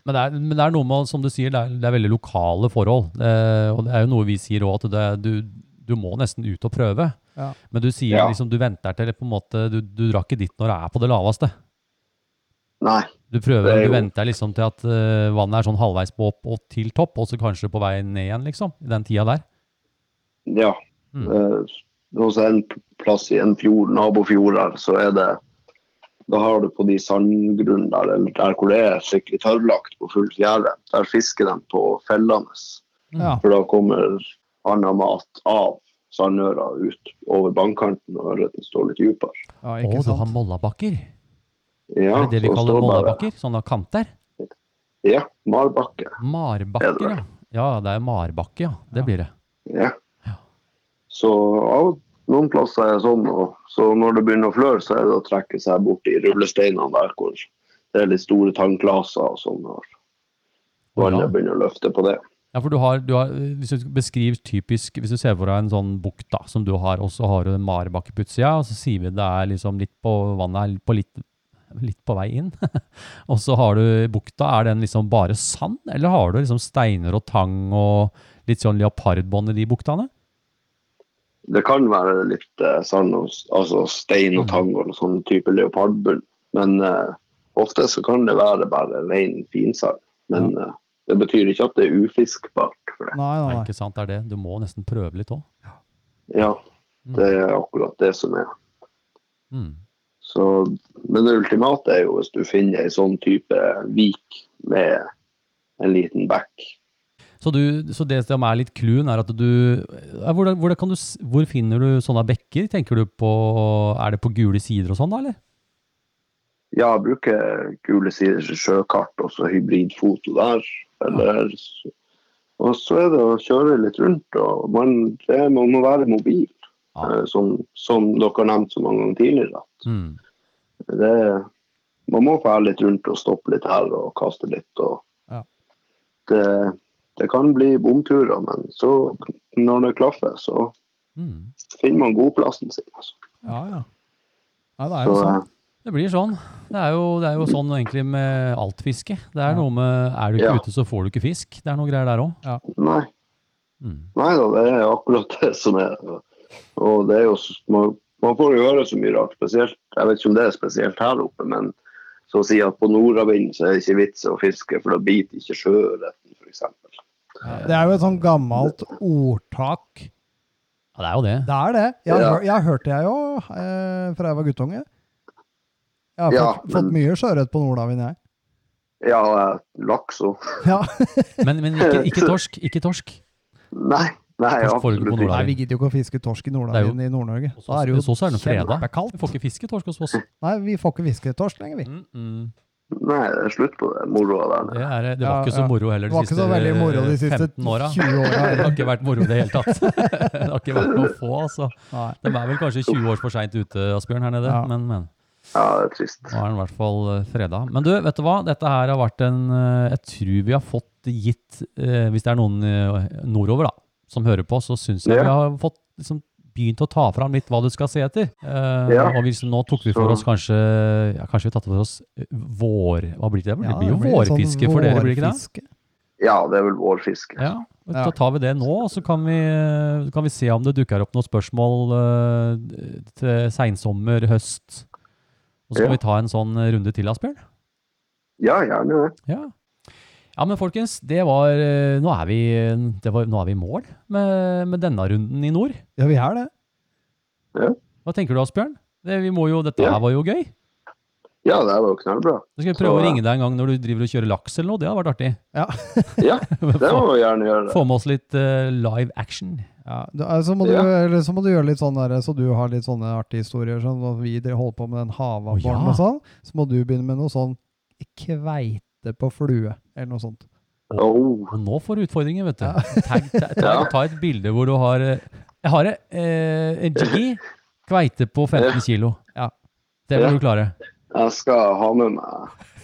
S1: Men det, er, men det er noe med, som du sier, det er, det er veldig lokale forhold. Eh, og det er jo noe vi sier òg, at det, du, du må nesten ut og prøve.
S6: Ja.
S1: Men du sier
S7: Ja.
S1: liksom, du venter til på en måte, du, du drar ikke dit når det er på det laveste.
S7: Nei.
S1: Du prøver,
S7: Det er
S1: du
S7: jo-
S1: venter liksom til at eh, vannet er sånn halvveis på opp og til topp, og så kanskje på vei ned igjen, liksom. I den tida der.
S7: Ja.
S1: Mm.
S7: Eh, Hos en plass i en fjord, nabofjord her, så er det Da har du på de sandgrunnene der, eller der hvor det er skikkelig tørrlagt på fullt gjerde, der fisker de på fellene.
S1: Mm.
S6: Ja.
S7: For da kommer annen mat av sandøra ut over bankkanten, og ørreten står litt dypere.
S6: ja,
S1: Å,
S6: ikke
S1: du har
S6: sant?
S1: mollabakker.
S7: Ja,
S1: er det det vi
S7: så
S1: kaller
S7: står bare-
S1: mollabakker? Sånne kanter?
S7: Ja. Marbakke. Er det
S1: Marbakker, ja.
S7: det?
S1: Ja, det er marbakke, ja. Det blir det.
S7: Ja.
S1: Ja.
S7: Så ja, noen plasser er det sånn. Og, så når det begynner å fløre, så er det å trekke seg bort i rullesteinene der hvor det er litt store tannglaser og sånn. Og vannet
S1: Ja.
S7: begynner å løfte på det.
S1: Ja, for du har, du har Hvis du beskriver typisk Hvis du ser for deg en sånn bukt da, som du har, og så har du en marebakke på utsida, og så sier vi det er liksom litt på vannet er på litt, litt på vei inn. og så har du bukta. Er den liksom bare sand, eller har du liksom steiner og tang og litt sånn leopardbånd i de buktene?
S7: Det kan være litt eh, sand, og, s- altså stein og tang og sånn type leopardbunn. Men eh, ofte så kan det være bare ren finsand. Men eh, det betyr ikke at det er ufiskbart. For det.
S6: Nei, nei,
S1: Er
S6: nei.
S1: ikke sant, det er det? Du må nesten prøve litt òg.
S7: Ja, det er akkurat det som er.
S1: Mm.
S7: Så, men det ultimate er jo hvis du finner ei sånn type vik med en liten bekk.
S1: Så, du, så det som er litt clouen, er at du ja, hvordan, hvordan kan du s- Hvor finner du sånne bekker? Tenker du på Er det på gule sider og sånn, da, eller?
S7: Ja, jeg bruker gule sider til sjøkart og så hybridfoto der. Eller, og så er det å kjøre litt rundt. og Man, det, man må være mobil,
S1: Ja.
S7: eh, som, som dere har nevnt så mange ganger tidligere.
S1: Mm.
S7: Det, man må fære litt rundt og stoppe litt her og kaste litt. Og
S6: Ja.
S7: det, det kan bli bomturer, men så, når det klaffer, så
S1: Mm.
S7: finner man godplassen sin. Altså.
S6: Ja, ja. Nei, det er
S7: Så, eh,
S6: jo sånn.
S1: Det blir sånn. Det er jo, det er jo sånn egentlig med alt fiske. Det er
S6: Ja.
S1: noe med Er du ikke
S7: Ja.
S1: ute, så får du ikke fisk. Det er noe greier der òg.
S7: nei,
S1: Mm.
S7: nei da, det er akkurat det som er Og det er jo s- Man, man får jo høre så mye rart, spesielt Jeg vet ikke om det er spesielt her oppe, men så å si at på nordavind så er det ikke vits å fiske, for da biter ikke sjøørreten, f.eks.
S6: Det er jo et sånn gammelt ordtak.
S1: Ja, det er jo det.
S6: Det er det. Jeg, har
S7: Ja.
S6: hør- jeg hørte jeg jo eh, fra jeg var guttunge. Jeg har
S7: Ja,
S6: fått,
S7: men-
S6: fått mye sjøørret på Nordavind, jeg.
S7: Ja, eh, laks og
S6: Ja.
S1: Men, men ikke, ikke torsk. Ikke torsk.
S7: Nei, nei,
S1: Torsk foregår på
S7: absolutt
S1: Nordavind.
S7: ikke.
S6: Nei, vi gidder jo ikke å fiske torsk i Nordavind i Nord-Norge.
S1: Hos
S6: Da
S1: oss
S6: er det
S1: hos
S6: jo
S1: oss er det noe fredag.
S6: kjempekaldt.
S1: Vi får ikke fisketorsk hos oss.
S6: Nei, vi får ikke fiske torsk lenger, vi.
S1: Mm, mm.
S7: Nei, det er slutt på det moroa der.
S1: Det, er, det
S6: Ja,
S1: var ikke så
S6: ja.
S1: moro heller
S6: Det
S1: de
S6: var ikke
S1: siste
S6: så veldig moro de siste
S1: 15 åra.
S6: 20 åra.
S1: Det har ikke vært moro i det hele tatt. Det har ikke vært noe få, altså.
S6: Nei.
S1: De er vel kanskje 20 år for seint ute, Asbjørn, her nede.
S6: Ja.
S1: Men, men.
S7: Ja, det er trist.
S1: Nå er den i hvert fall eh, freda. Men du, vet du hva? Dette her har vært en eh, Jeg tror vi har fått gitt eh, Hvis det er noen eh, nordover da, som hører på, så syns jeg
S7: Ja.
S1: vi har fått liksom, begynt å ta fram litt hva du skal se etter. Eh,
S7: Ja.
S1: Og hvis, nå tok vi for
S7: Så-
S1: oss kanskje ja, Kanskje vi har tatt for oss eh, vår... Hva blir det? Det
S6: Ja,
S1: blir jo
S6: litt sånn
S1: vårfiske for dere, blir det ikke det?
S6: vårfiske.
S7: Ja, det er vel vårfiske.
S1: Ja. og
S6: Ja.
S1: Da tar vi det nå, og så kan vi, eh, kan vi se om det dukker opp noen spørsmål eh, til seinsommer, høst. Og så
S7: Ja.
S1: skal vi ta en sånn runde til, Asbjørn.
S7: Ja, gjerne det.
S1: Ja. ja, men folkens, det var, eh, nå, er vi, det var, nå er vi i mål med, med denne runden i nord.
S6: Ja, vi er det.
S1: Hva tenker du, Asbjørn? Det, vi må jo, dette
S7: Ja.
S1: her var jo gøy.
S7: Ja, det var jo knallbra.
S1: Så skal vi prøve å
S7: Så, ja.
S1: ringe deg en gang når du driver og kjører laks eller noe. Det hadde vært artig.
S6: Ja.
S7: Ja, det må
S1: få,
S7: vi gjerne gjøre.
S1: få med oss litt eh, live action.
S6: Ja, du, eh, så, må du,
S7: Ja.
S6: eller så må du gjøre litt sånn der, så du har litt sånne artige historier. Sånn, at vi dere holder på med den
S1: Å,
S6: havabboren
S1: ja.
S6: og sånn. Så må du begynne med noe sånn kveite på flue, eller noe sånt.
S7: Oh,
S1: Og nå får du utfordringer, vet du. Tagg- ta, ta,
S7: Ja.
S1: ta et bilde hvor du har eh, Jeg har eh, en jiggy kveite på 15 kilo.
S6: Ja.
S1: Det vil
S7: Ja.
S1: du klare.
S7: jeg skal ha med meg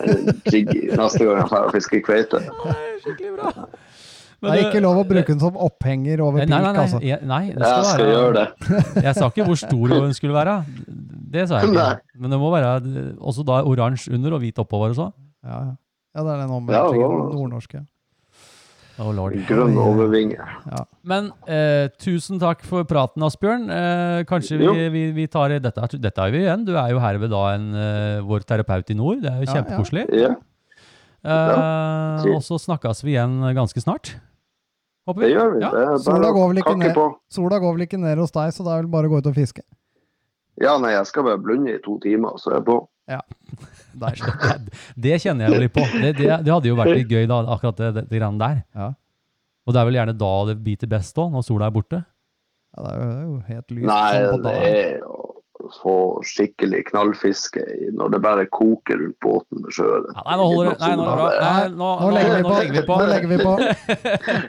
S7: en jiggy neste gang jeg drar og fisker kveite.
S1: Skikkelig bra.
S6: Det er ikke lov å bruke den som opphenger
S1: Nei,
S6: over pik,
S1: nei, nei,
S6: altså.
S1: jeg- nei det skal
S7: Jeg skal
S1: være-
S7: gjøre det.
S1: Jeg sa ikke hvor stor den skulle være. Det sa jeg ikke.
S7: Nei.
S1: Men det må være eh, også da oransje under og hvit oppover og så.
S6: Ja, ja. ja, det er den
S7: Ja, det
S6: omveltingen.
S7: var-
S6: Nordnorske.
S1: Oh, lord.
S7: Grønn overvinge.
S1: Men eh, tusen takk for praten, Asbjørn. Eh, kanskje vi,
S7: Jo.
S1: vi, vi tar dette, er- dette er vi igjen. Du er jo herved da en, eh, vår terapeut i nord. Det er jo
S6: Ja, ja.
S1: kjempekoselig.
S7: Ja,
S1: Eh,
S7: Ja.
S1: og så snakkes vi igjen ganske snart. Håper
S7: det
S1: vi.
S7: gjør vi.
S1: Ja.
S7: Det er
S6: Sola
S7: bare
S6: går
S7: å
S6: vel ikke
S7: kakke
S6: ned?
S7: på.
S6: Sola går vel ikke ned hos deg, så det er vel bare å gå ut og fiske.
S7: Ja, nei, jeg skal bare blunde i to timer, så er jeg på.
S6: Deilig.
S1: Det kjenner jeg jo litt på. Det, det, det hadde jo vært litt gøy, da, akkurat det, det, det greiene der.
S6: Ja.
S1: Og det er vel gjerne da det biter best òg, når sola er borte.
S6: Ja, det er jo- det er jo helt lyst.
S7: Nei,
S6: sånn på
S7: det
S6: dagen.
S7: er å få skikkelig knallfiske i- når det bare koker rundt båten med sjøørret.
S1: Ja, nei, nå holder det. Nei, nå er det bra. Nei, nå,
S6: Nå legger vi
S1: nå,
S6: på.
S1: nå legger vi på.
S6: Nå legger vi på.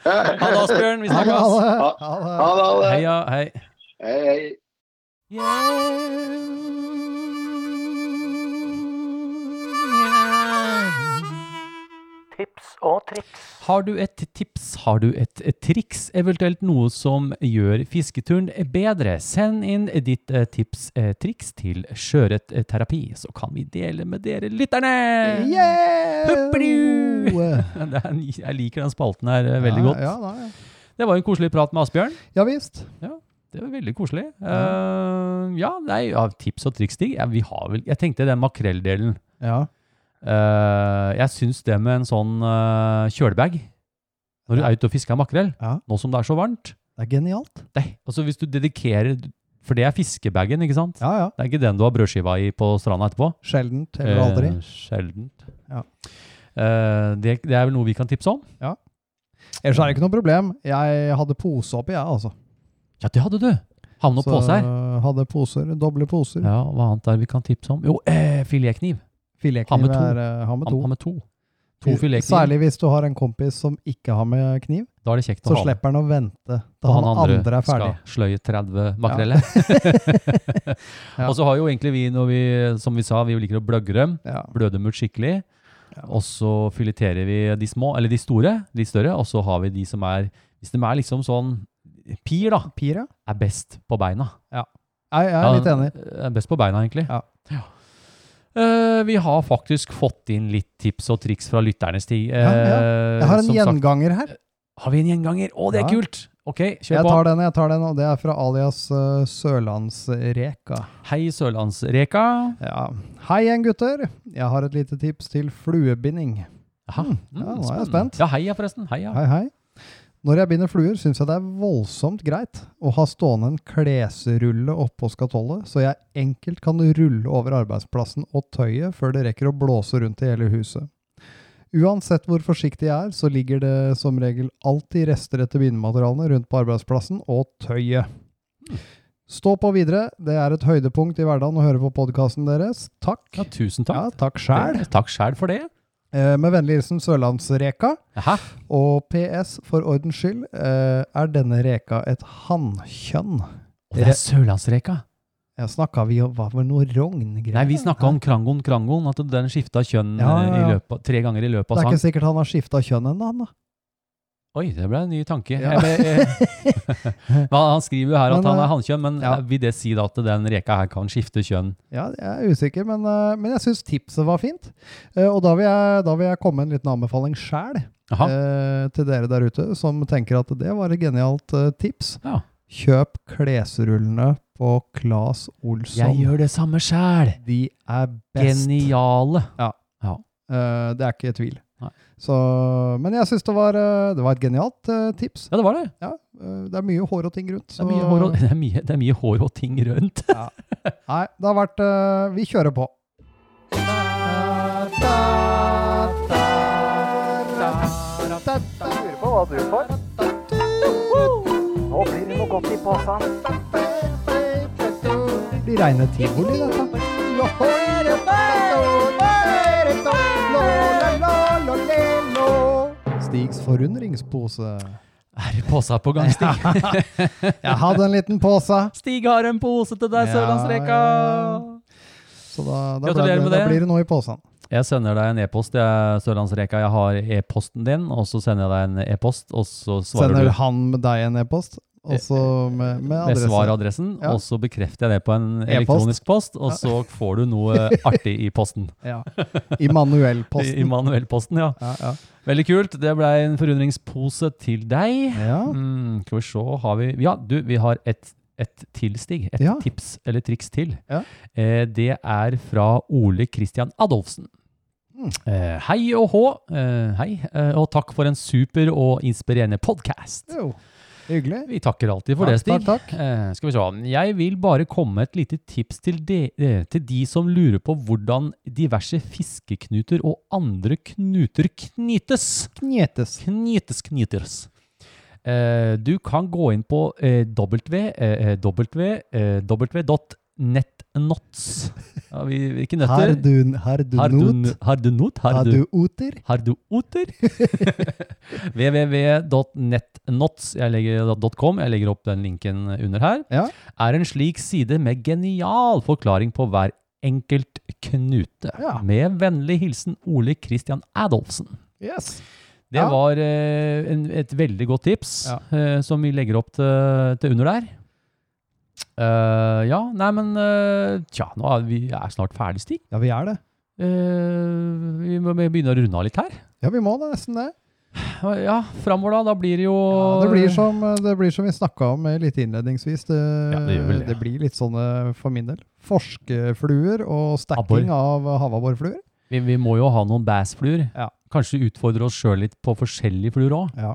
S1: Ha det, Asbjørn. Vi
S6: Ha det,
S1: snakkes.
S6: ha det. Ha det.
S7: Ha det, alle.
S1: Heia, hei.
S7: Hei, hei.
S3: Tips og triks.
S1: Har du et tips, har du et, et triks, eventuelt noe som gjør fisketuren bedre, send inn ditt eh, tips, eh, triks til Sjøørretterapi, så kan vi dele med dere lytterne! Huppedu!
S6: Yeah!
S1: Det er, en- jeg liker den spalten her eh, veldig
S6: Ja,
S1: godt.
S6: Ja, da, ja.
S1: Det var jo en koselig prat med Asbjørn.
S6: ja visst.
S1: Det var veldig koselig. Eh, ja, nei, ja, tips og triks, Stig. Ja, vi har vel, jeg tenkte den makrelldelen.
S6: Ja.
S1: Eh, jeg syns det med en sånn eh, kjølebag når du er ute og fisker makrell,
S6: Ja.
S1: nå som det er så varmt
S6: Det er genialt.
S1: Nei, altså hvis du dedikerer For det er fiskebagen, ikke sant?
S6: Ja, ja.
S1: Det er ikke den du har brødskiva i på stranda etterpå.
S6: Sjeldent eller aldri.
S1: Eh, sjeldent.
S6: Ja.
S1: Eh, det, det er vel noe vi kan tipse om?
S6: Ellers er det ikke noe problem. Jeg hadde pose oppi, jeg, altså.
S1: Ja, det hadde du! Havn opp
S6: Så,
S1: pose her.
S6: øh, Hadde poser. Doble poser.
S1: Ja, hva annet er det vi kan tipse om? Jo, eh, filetkniv. Ha med
S6: Filetkniv
S1: to.
S6: er øh, ha med
S1: Han
S6: to.
S1: har med to. To filetkniv.
S6: Særlig hvis du har en kompis som ikke har med kniv,
S1: Da er det kjekt
S6: så
S1: å ha med.
S6: slipper han å vente til
S1: Og
S6: han andre, er ferdig.
S1: skal sløye 30 makreller.
S6: Ja.
S1: Og så har jo egentlig vi, når vi, som vi sa, vi liker å bløgge dem.
S6: Ja.
S1: Bløde dem ut skikkelig.
S6: Ja.
S1: Og så fileterer vi de små, eller de store, de større. Og så har vi de som er Hvis de er liksom sånn Pier, da,
S6: Pir, ja.
S1: er best på beina.
S6: Jeg, jeg er litt enig.
S1: Er best på beina, egentlig.
S6: Ja.
S1: Eh, vi har faktisk fått inn litt tips og triks fra lytterne, Stig.
S6: Ja, ja.
S1: Eh,
S6: Jeg har en
S1: som sagt-
S6: gjenganger her.
S1: har vi en gjenganger? Å, det er
S6: Ja.
S1: kult! Ok, kjør
S6: Jeg
S1: på.
S6: tar den, jeg tar den, og det er fra alias øh, Sørlandsreka.
S1: Hei, Sørlandsreka.
S6: Ja. Hei igjen, gutter. Jeg har et lite tips til fluebinding.
S1: Jaha. Mm,
S6: Ja, nå er jeg
S1: spennende.
S6: spent.
S1: Ja, heia forresten. Heia.
S6: Hei, hei. Når jeg binder fluer, syns jeg det er voldsomt greit å ha stående en klesrulle oppå skatollet, så jeg enkelt kan rulle over arbeidsplassen og tøyet før det rekker å blåse rundt i hele huset. Uansett hvor forsiktig jeg er, så ligger det som regel alltid rester etter bindematerialene rundt på arbeidsplassen og tøyet. Stå på videre. Det er et høydepunkt i hverdagen å høre på podkasten deres. Takk.
S1: Ja, tusen
S6: Ja,
S1: takk.
S6: takk sjæl.
S1: Det- Takk sjæl for det.
S6: Eh, Med vennlig hilsen Sørlandsreka.
S1: Hæ?
S6: Og PS, for ordens skyld, eh, er denne reka et hannkjønn?
S1: Og det er Sørlandsreka.
S6: Ja, snakka vi om hva var noe rogngreier?
S1: Nei, vi snakka om Krangon Krangon, at den skifta kjønn
S6: Ja, ja,
S1: eh, I
S6: ja.
S1: løpet, av- tre ganger i løpet av
S6: Det er
S1: sang.
S6: ikke sikkert han har skifta kjønn ennå, han da.
S1: Oi, det ble en ny tanke.
S6: Ja.
S1: Jeg ble- eh, men han skriver jo her at
S6: Men,
S1: han er
S6: eh,
S1: hannkjønn, men
S6: ja.
S1: eh, vil det si da at den reka her kan skifte kjønn?
S6: Ja, jeg er usikker, men, eh, men jeg syns tipset var fint. Eh, og da vil, jeg, da vil jeg komme med en liten anbefaling sjæl
S1: Jaha.
S6: eh, til dere der ute som tenker at det var et genialt eh, tips.
S1: Ja.
S6: Kjøp klesrullene på Claes
S1: Jeg
S6: Olsson.
S1: gjør det samme sjæl!
S6: De er sånn. best.
S1: Geniale.
S6: Eh, det er ikke tvil.
S1: Nei.
S6: Så, men jeg syns det, var, eh, det var et genialt eh, tips.
S1: Ja, det var det.
S6: Ja, eh, det er mye hår og ting rundt.
S1: Det er
S6: så-
S1: mye hår og, det er mye, det er mye hår og ting rundt.
S6: Nei, det har vært eh, Vi kjører på.
S3: Lurer på hva du får. Nå blir det noe godt i posen.
S6: Det blir reine tivoli, dette. Stigs forundringspose.
S1: Er det påsa på gang, Stig?
S6: Jeg hadde en liten pose,
S1: Stig har en pose til deg,
S6: Ja,
S1: Sørlandsreka!
S6: ja, så da, da, ble,
S1: Gratulerer
S6: det,
S1: med
S6: da
S1: det.
S6: blir det noe i posen.
S1: Jeg sender deg en e-post, jeg, Sørlandsreka. Jeg har e-posten din, og så sender jeg deg en e-post, og så svarer
S6: Sender
S1: du Eh,
S6: han med deg en e-post, og så med, med
S1: med
S6: adresse.
S1: svaradressen,
S6: Ja.
S1: og så bekrefter jeg det på en elektronisk post, og så får du noe artig i posten.
S6: Ja.
S1: I, i
S6: Immanuel-posten.
S1: manuellposten, ja.
S6: Ja, ja.
S1: Veldig kult. Det ble en forundringspose til deg.
S6: ja.
S1: Mm, skal vi se, har vi Ja, du, vi har et, et til, Stig. Et
S6: Ja.
S1: tips eller triks til.
S6: Ja.
S1: Eh, det er fra Ole Christian Adolfsen.
S6: Mm.
S1: Eh, hei og hå. Eh, hei, eh, og takk for en super og inspirerende podkast.
S6: Jo, hyggelig.
S1: Vi takker alltid for det, Stig.
S6: Takk, takk, takk.
S1: Eh, skal vi se. Jeg vil bare komme med et lite tips til de, eh, til de som lurer på hvordan diverse fiskeknuter og andre knuter knytes.
S6: Knetes.
S1: Knytes, knytes. Eh, du kan gå inn på eh, w, eh, w, eh, w.netnots. Ja, vi, ikke
S6: Har
S1: nøtter.
S6: du, har du
S1: Har du,
S6: not?
S1: har du not? Har
S6: Har
S1: du
S6: du oter?
S1: har du oter? www.netnots jeg legger, eh, .com, jeg legger opp den linken under her,
S6: Ja.
S1: er en slik side med genial forklaring på hver enkelt knute.
S6: Ja.
S1: Med vennlig hilsen Ole Christian Adolfsen.
S6: Yes.
S1: Det
S6: Ja.
S1: var eh, en, et veldig godt tips
S6: Ja.
S1: eh, som vi legger opp til, til under der. Eh, ja, nei, men eh, tja, nå er vi er snart ferdig, Stig.
S6: Ja, vi er det.
S1: Eh, vi må vi må begynne å runde av litt her.
S6: Ja, vi må nesten det.
S1: Ja, framover da. Da blir det jo
S6: Ja, det, blir sånn. som, det blir som vi snakka om eh, litt innledningsvis. Det,
S1: Ja, det gjør vel det.
S6: det blir litt sånne for min del. Forskefluer og stacking av havabborfluer.
S1: vi, vi må jo ha noen bassfluer.
S6: Ja.
S1: Kanskje utfordre oss sjøl litt på forskjellige fluer òg.
S6: Ja.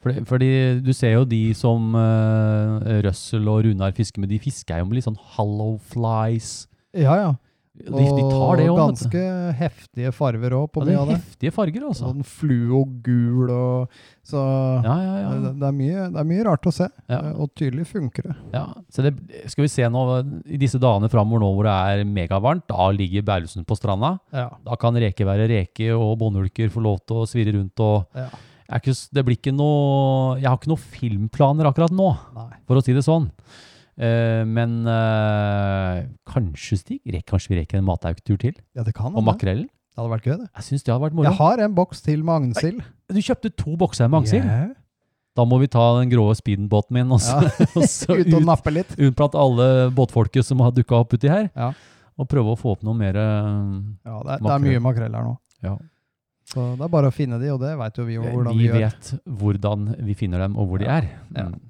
S1: Fordi, fordi du ser jo de som eh, Røssel og Runar fisker med, de fisker jo med litt sånn hollow flies.
S6: Ja, ja.
S1: De, de tar det
S6: og
S1: òg, vet du.
S6: ganske heftige farger òg på
S1: Ja, det er
S6: mye av det.
S1: heftige farger, altså.
S6: Sånn fluogul og Så
S1: Ja, ja, ja.
S6: Det, det, er mye, det er mye rart å se.
S1: Ja.
S6: eh, Og tydelig funker det.
S1: ja. Så det, skal vi se nå, i disse dagene framover nå hvor det er megavarmt, da ligger bærlusen på stranda.
S6: Ja.
S1: Da kan reke være reke, og båndulker få lov til å svirre rundt. og
S6: Ja.
S1: Jeg er ikke, s- det blir ikke noe, Jeg har ikke noen filmplaner akkurat nå,
S6: Nei.
S1: for å si det sånn. Eh, men eh, kanskje, Stig, rek, kanskje vi reker en matauktur til?
S6: Ja, det kan
S1: Og
S6: hende.
S1: makrellen?
S6: Det hadde vært gøy, det.
S1: Jeg syns det hadde vært moro.
S6: Jeg har en boks til med agnsild.
S1: Du kjøpte to bokser med agnsild.
S6: Ja.
S1: Da må vi ta den grå speedenbåten min og så, og så
S6: Ut og
S1: ut,
S6: nappe litt.
S1: ut blant alle båtfolket som har dukka opp uti her,
S6: Ja.
S1: og prøve å få opp noe mer eh,
S6: Ja, det er, det er
S1: Makrell.
S6: mye makrell her nå.
S1: Ja.
S6: Så det er bare å finne de, og det veit jo vi jo hvordan vi,
S1: eh, vi
S6: gjør.
S1: vet hvordan vi finner dem, og hvor
S6: Ja.
S1: de er.
S6: Ja.
S1: Mm.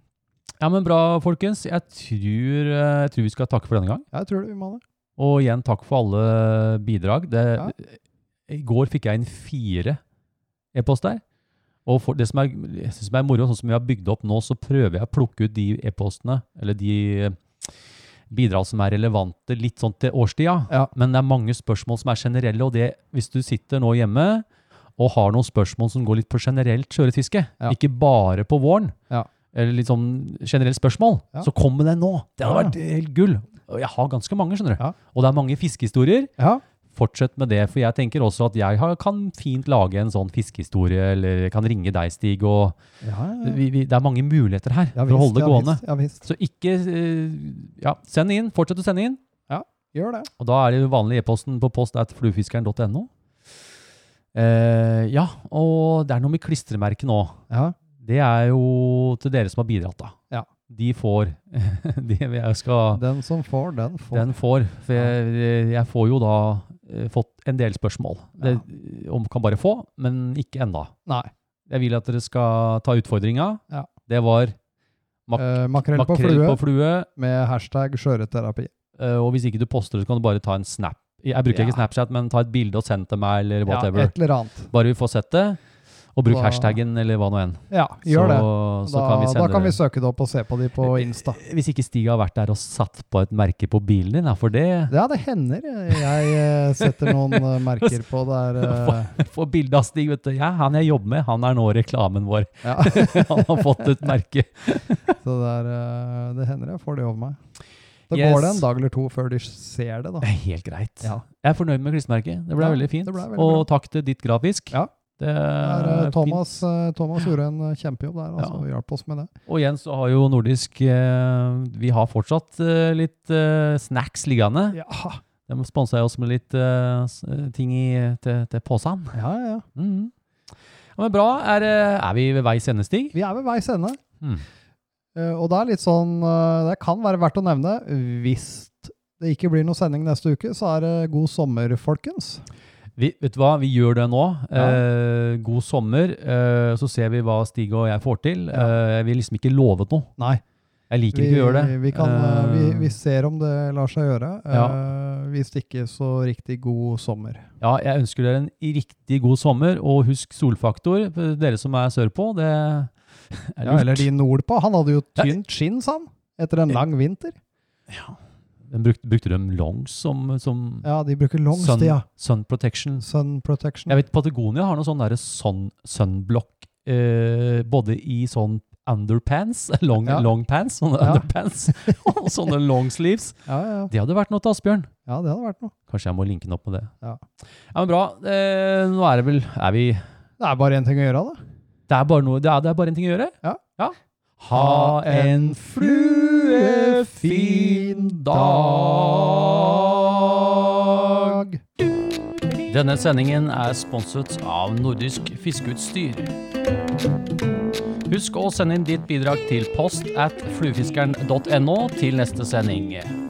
S1: ja, men bra, folkens. Jeg tror, eh, jeg tror vi skal takke for denne gang.
S6: Jeg tror det, vi må det.
S1: Og igjen takk for alle bidrag. Det,
S6: Ja.
S1: I går fikk jeg inn fire e-poster. Og for, det som er, jeg synes det er moro, sånn som vi har bygd opp nå, så prøver jeg å plukke ut de e-postene, eller de eh, bidrag som er relevante litt sånn til årstida.
S6: Ja.
S1: Men det er mange spørsmål som er generelle, og det, hvis du sitter nå hjemme og har noen spørsmål som går litt på generelt sjøørretfiske,
S6: Ja.
S1: ikke bare på våren,
S6: Ja.
S1: eller litt sånn generelle spørsmål,
S6: Ja.
S1: så kom med det nå. Det hadde
S6: Ja, ja.
S1: vært helt gull. Og Jeg har ganske mange, skjønner du.
S6: Ja.
S1: Og det er mange fiskehistorier.
S6: Ja,
S1: Fortsett med det, for jeg tenker også at jeg har, kan fint lage en sånn fiskehistorie, eller jeg kan ringe deg, Stig, og
S6: ja, ja.
S1: vi, vi, det er mange muligheter her
S6: Mm. Ja,
S1: for å holde det
S6: ja,
S1: gående.
S6: Visst, ja visst.
S1: Så ikke eh, Ja, send inn. Fortsett å sende inn.
S6: Gjør det.
S1: Og da er det jo vanlig e-posten på post at fluefiskeren.no. Eh, ja, og det er noe med klistremerket nå.
S6: Ja.
S1: Det er jo til dere som har bidratt, da.
S6: Ja.
S1: De får. de, jeg skal
S6: Den som får, den får.
S1: Den får. For jeg, jeg får jo da eh, fått en del spørsmål. Det, om kan bare få, men ikke enda.
S6: Nei.
S1: Jeg vil at dere skal ta utfordringa.
S6: Ja.
S1: Det var mak
S6: Eh, makrell på
S1: makrell
S6: flue
S1: på flue.
S6: med hashtag skjøreterapi.
S1: eh, Og hvis ikke du poster det, så kan du bare ta en snap. Jeg bruker
S6: Ja.
S1: ikke Snapchat, men ta et bilde og send til meg, eller
S6: Ja,
S1: whatever.
S6: et eller annet.
S1: Bare vi får sett det. Og bruk
S6: Da-
S1: hashtaggen, eller hva nå enn.
S6: Ja, gjør
S1: så,
S6: det.
S1: Så
S6: Da
S1: kan vi
S6: da
S1: sende
S6: kan vi
S1: det.
S6: søke det opp og se på de på Insta.
S1: Hvis ikke Stig har vært der og satt på et merke på bilen din, da, for det
S6: Ja, det hender. Jeg eh, setter noen eh, merker på der. eh,
S1: Få bilde av Stig, vet du. Ja, han jeg jobber med, han er nå reklamen vår.
S6: Ja.
S1: han har fått et merke.
S6: Så det, er, eh, det hender jeg får det over meg. Da
S1: Yes.
S6: går det en dag eller to før de ser det, da.
S1: Det er helt greit.
S6: Ja.
S1: Jeg er fornøyd med klistremerket. Det ble
S6: Ja,
S1: veldig fint.
S6: det ble veldig
S1: og takk til ditt grafisk.
S6: Ja.
S1: Det
S6: Der,
S1: er
S6: eh,
S1: fint.
S6: Thomas, eh, Thomas gjorde en eh, kjempejobb der, altså, og hjalp oss med det.
S1: Og igjen så har jo Nordisk eh, Vi har fortsatt eh, litt eh, snacks liggende.
S6: Ja,
S1: De sponsa jo oss med litt eh, s- ting i, til, til posen.
S6: Ja, ja, ja.
S1: Mhm. Ja, men bra. Er, eh, er vi ved veis ende, Stig?
S6: Vi er ved veis ende.
S1: Mm.
S6: Eh, og det er litt sånn eh, Det kan være verdt å nevne hvis det ikke blir noen sending neste uke, så er det god sommer, folkens.
S1: Vi, vet du hva, vi gjør det nå.
S6: Ja.
S1: Eh, god sommer. Eh, så ser vi hva Stig og jeg får til. Eh, jeg vil liksom ikke love noe.
S6: Nei.
S1: Jeg liker ikke å gjøre det.
S6: Vi, kan, eh, vi,
S1: Eh,
S6: vi ser om det lar seg gjøre. Eh, hvis ikke, så riktig god sommer.
S1: Ja, jeg ønsker dere en riktig god sommer, og husk solfaktor. for Dere som er sørpå, det er
S6: Ja,
S1: lurt.
S6: eller Eh. de nordpå. Han hadde jo
S1: Ja.
S6: tynt skinn, sa han, etter en lang vinter.
S1: Den brukte, brukte de longs som, som
S6: Ja, de bruker longs,
S1: sun,
S6: de, ja.
S1: sun protection?
S6: Sun protection.
S1: Jeg vet Patagonia har noe sånn derre sun, sunblock eh, både i sånn underpants, long,
S6: Ja.
S1: long pants, sånne
S6: Ja.
S1: underpants, og sånne long sleeves.
S6: Ja, ja, ja.
S1: Det hadde vært noe til Asbjørn.
S6: ja, det hadde vært noe.
S1: Kanskje jeg må linke den opp med det.
S6: Ja.
S1: Ja, men bra. Eh, nå er det vel er vi,
S6: Det er bare én ting å gjøre, da.
S1: det, er bare noe, det, er, det er bare en ting å gjøre.
S6: Ja.
S1: Ha en fluefin dag. Denne sendingen er sponset av Nordisk Fiskeutstyr. Husk å sende inn ditt bidrag til post at fluefiskeren.no til neste sending.